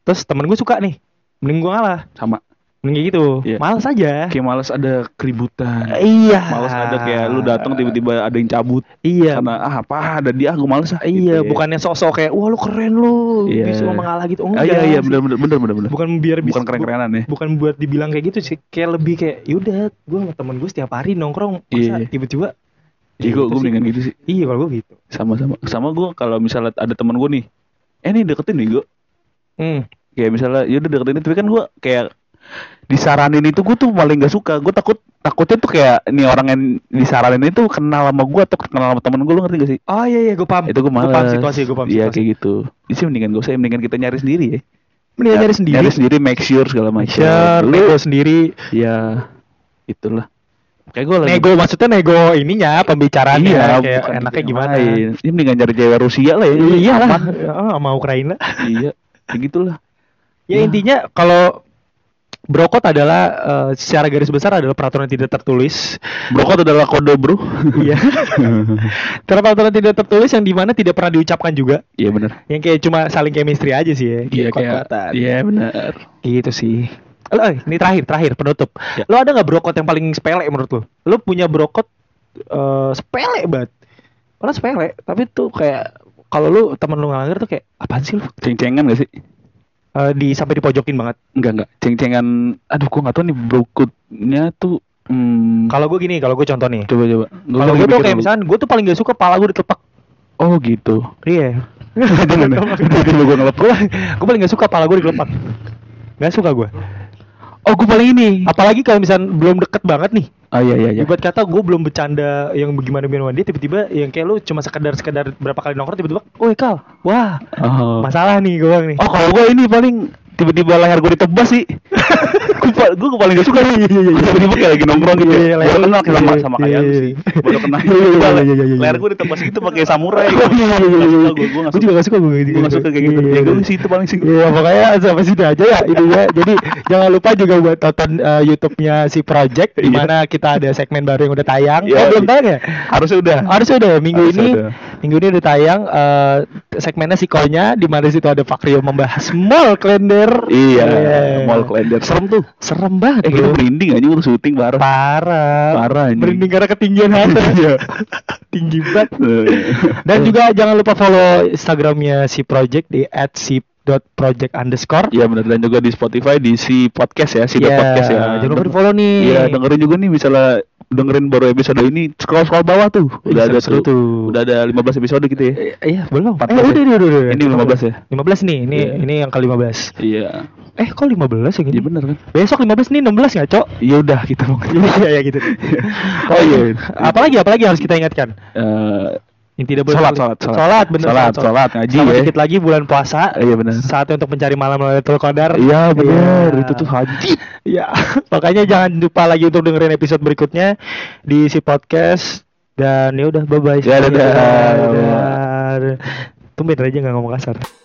Speaker 1: terus temen gue suka nih mending gue ngalah
Speaker 2: Sama.
Speaker 1: mending kayak gitu
Speaker 2: Iya.
Speaker 1: males aja
Speaker 2: Kayak males ada keributan.
Speaker 1: iya
Speaker 2: Males ada kayak lu datang tiba-tiba ada yang cabut
Speaker 1: iya
Speaker 2: karena ah apa ada dia aku males ah.
Speaker 1: iya
Speaker 2: gitu ya.
Speaker 1: bukannya sok-sok kayak wah lu keren lu
Speaker 2: Iya.
Speaker 1: bisa mengalah gitu
Speaker 2: Ah,
Speaker 1: enggak
Speaker 2: iya iya
Speaker 1: sih.
Speaker 2: benar benar benar benar benar.
Speaker 1: bukan biar bisa
Speaker 2: Bukan keren-kerenan ya.
Speaker 1: bukan buat dibilang kayak gitu sih kayak lebih kayak yaudah gue sama temen gue setiap hari nongkrong
Speaker 2: Iya.
Speaker 1: masa tiba-tiba
Speaker 2: Iya gue
Speaker 1: Gitu
Speaker 2: gue
Speaker 1: sih.
Speaker 2: mendingan gitu sih.
Speaker 1: iya kalau gue gitu
Speaker 2: Sama-sama. Sama gue kalau misalnya ada teman gue nih. Eh nih deketin nih gue.
Speaker 1: hmm.
Speaker 2: Kayak misalnya yaudah deketin ini tapi kan gue kayak disaranin itu gue tuh paling gak suka gue takut takutnya tuh kayak nih orang yang disaranin itu kenal sama gue atau kenal sama temen gue lu ngerti gak sih
Speaker 1: Oh iya iya gue paham.
Speaker 2: itu gue
Speaker 1: Gua
Speaker 2: malas
Speaker 1: paham situasi, gue paham
Speaker 2: iya
Speaker 1: situasi.
Speaker 2: kayak gitu jadi sih mendingan gak usah mendingan kita nyari sendiri ya
Speaker 1: Mendingan Iya, nyari sendiri.
Speaker 2: nyari sendiri make sure segala macam
Speaker 1: Share,
Speaker 2: Lu-
Speaker 1: nego sendiri.
Speaker 2: ya itulah kayak gue lagi
Speaker 1: Nego maksudnya nego ininya pembicaraannya
Speaker 2: iya,
Speaker 1: kayak
Speaker 2: bukan Iya,
Speaker 1: enaknya
Speaker 2: yang
Speaker 1: gimana.
Speaker 2: lain. ini mendingan nyari cewek Rusia lah ya
Speaker 1: Iya lah.
Speaker 2: Aman.
Speaker 1: Oh, sama Ukraina.
Speaker 2: iya kayak gitulah
Speaker 1: Ya
Speaker 2: Ya.
Speaker 1: intinya kalau brokot adalah eh, secara garis besar adalah peraturan tidak tertulis.
Speaker 2: brokot adalah kode bro
Speaker 1: Iya. Karena peraturan tidak tertulis yang dimana tidak pernah diucapkan juga.
Speaker 2: iya benar
Speaker 1: Yang kayak cuma saling chemistry aja sih ya.
Speaker 2: iya kayak
Speaker 1: kuat-kuatan.
Speaker 2: iya benar
Speaker 1: Gitu sih. Lo, eh, ini terakhir, terakhir penutup.
Speaker 2: Ya.
Speaker 1: Lo ada nggak brokot yang paling sepele menurut lo? Lo punya brokot eh, sepele banget. Orang sepele, tapi tuh kayak kalau lu temen lu ngelanggar tuh kayak apaan sih lu?
Speaker 2: ceng-cengan gak sih
Speaker 1: Eh, di sampai dipojokin banget.
Speaker 2: enggak enggak ceng-cengan aduh gue gak tau nih brokotnya tuh hmm,
Speaker 1: Kalau gue gini, kalau gue contoh nih.
Speaker 2: coba coba Gua
Speaker 1: Kalau
Speaker 2: lagi
Speaker 1: gue tuh
Speaker 2: mikir
Speaker 1: kayak
Speaker 2: dulu.
Speaker 1: misalnya gue tuh paling gak suka pala gue ditepak.
Speaker 2: oh gitu
Speaker 1: Iya.
Speaker 2: Tiba-tiba gue ngelepon
Speaker 1: gue paling gak suka pala gue dikelepak. Gak suka gue.
Speaker 2: Oh gue paling ini
Speaker 1: Apalagi kalau misalnya belum deket banget nih.
Speaker 2: Oh iya iya iya.
Speaker 1: Ibarat kata gue belum bercanda yang bagaimana bagaimana dia tiba-tiba yang kayak lu cuma sekedar sekedar berapa kali nongkrong tiba-tiba, "Woi, Kal. Wah,
Speaker 2: Oh.
Speaker 1: masalah nih gue bilang nih."
Speaker 2: Oh kalau gue ini paling tiba-tiba leher gue ditebas sih. gue paling gak suka nih. Tiba-tiba kayak lagi nongkrong gitu.
Speaker 1: Iya, iya,
Speaker 2: Baru
Speaker 1: leher-
Speaker 2: kenal sama
Speaker 1: iya,
Speaker 2: sama
Speaker 1: iya,
Speaker 2: kayak lu
Speaker 1: iya.
Speaker 2: sih. Baru kenal.
Speaker 1: Iya, iya,
Speaker 2: Tiba-tiba
Speaker 1: iya, iya, iya.
Speaker 2: Leher gue ditebas gitu pakai samurai.
Speaker 1: Oh, iya, iya, iya, iya.
Speaker 2: Gue gue
Speaker 1: Gua juga gak suka gue kayak
Speaker 2: Gue gak suka kayak gitu.
Speaker 1: Iya,
Speaker 2: Ya gue
Speaker 1: iya.
Speaker 2: sih itu paling sih.
Speaker 1: Iya makanya sampai sini aja ya ininya. Jadi jangan lupa juga buat tonton eh, YouTube-nya si Project di
Speaker 2: Iya.
Speaker 1: mana kita ada segmen baru yang udah tayang.
Speaker 2: Iya.
Speaker 1: Oh belum tayang ya?
Speaker 2: Harusnya udah.
Speaker 1: Harus udah ya, minggu
Speaker 2: Harusnya
Speaker 1: ini
Speaker 2: udah.
Speaker 1: minggu ini udah tayang eh, segmennya Sikonya di mana situ ada Fakrio membahas mall kalender.
Speaker 2: Iya. Mall kalender serem tuh.
Speaker 1: Serem banget.
Speaker 2: Eh kita
Speaker 1: bro.
Speaker 2: merinding aja udah syuting bareng.
Speaker 1: Parah.
Speaker 2: Parah, anjing.
Speaker 1: Merinding karena ketinggian harta.
Speaker 2: Iya.
Speaker 1: Tinggi banget. Dan juga jangan lupa follow Instagramnya si Project di @si.project underscore.
Speaker 2: Iya benar dan juga di Spotify di si podcast ya, si The
Speaker 1: Iya,
Speaker 2: podcast ya.
Speaker 1: Jangan lupa di follow nih.
Speaker 2: Iya, dengerin juga nih misalnya dengerin baru episode ini scroll scroll bawah tuh. Udah
Speaker 1: Ih,
Speaker 2: ada
Speaker 1: Iya, seru
Speaker 2: tuh.
Speaker 1: tuh.
Speaker 2: Udah ada 15 episode gitu ya.
Speaker 1: Eh, Iya, belum.
Speaker 2: 14
Speaker 1: eh,
Speaker 2: ya?
Speaker 1: udah, udah, udah, udah.
Speaker 2: Ini 15 ya?
Speaker 1: 15 nih, ini
Speaker 2: Iya.
Speaker 1: ini yang ke-15.
Speaker 2: Iya.
Speaker 1: Eh, kok 15 ya gini?
Speaker 2: Iya benar kan?
Speaker 1: Besok 15 nih 16 nggak, Cok?
Speaker 2: Ya udah kita mau.
Speaker 1: Iya, ya gitu.
Speaker 2: Oh iya.
Speaker 1: Apalagi apalagi yang harus kita ingatkan?
Speaker 2: Eh,
Speaker 1: Yang tidak boleh
Speaker 2: Sholat, sholat, sholat.
Speaker 1: Sholat, bener.
Speaker 2: Sholat, sholat, ngaji
Speaker 1: Sama
Speaker 2: ya.
Speaker 1: dikit lagi bulan puasa.
Speaker 2: Iya, bener.
Speaker 1: Saatnya untuk mencari malam Lailatul Qadar.
Speaker 2: Iya benar,
Speaker 1: Iya.
Speaker 2: itu tuh haji.
Speaker 1: Ya, makanya jangan lupa lagi untuk dengerin episode berikutnya di si podcast dan ya udah bye bye.
Speaker 2: Ya, dadah.
Speaker 1: Tumben aja nggak ngomong kasar.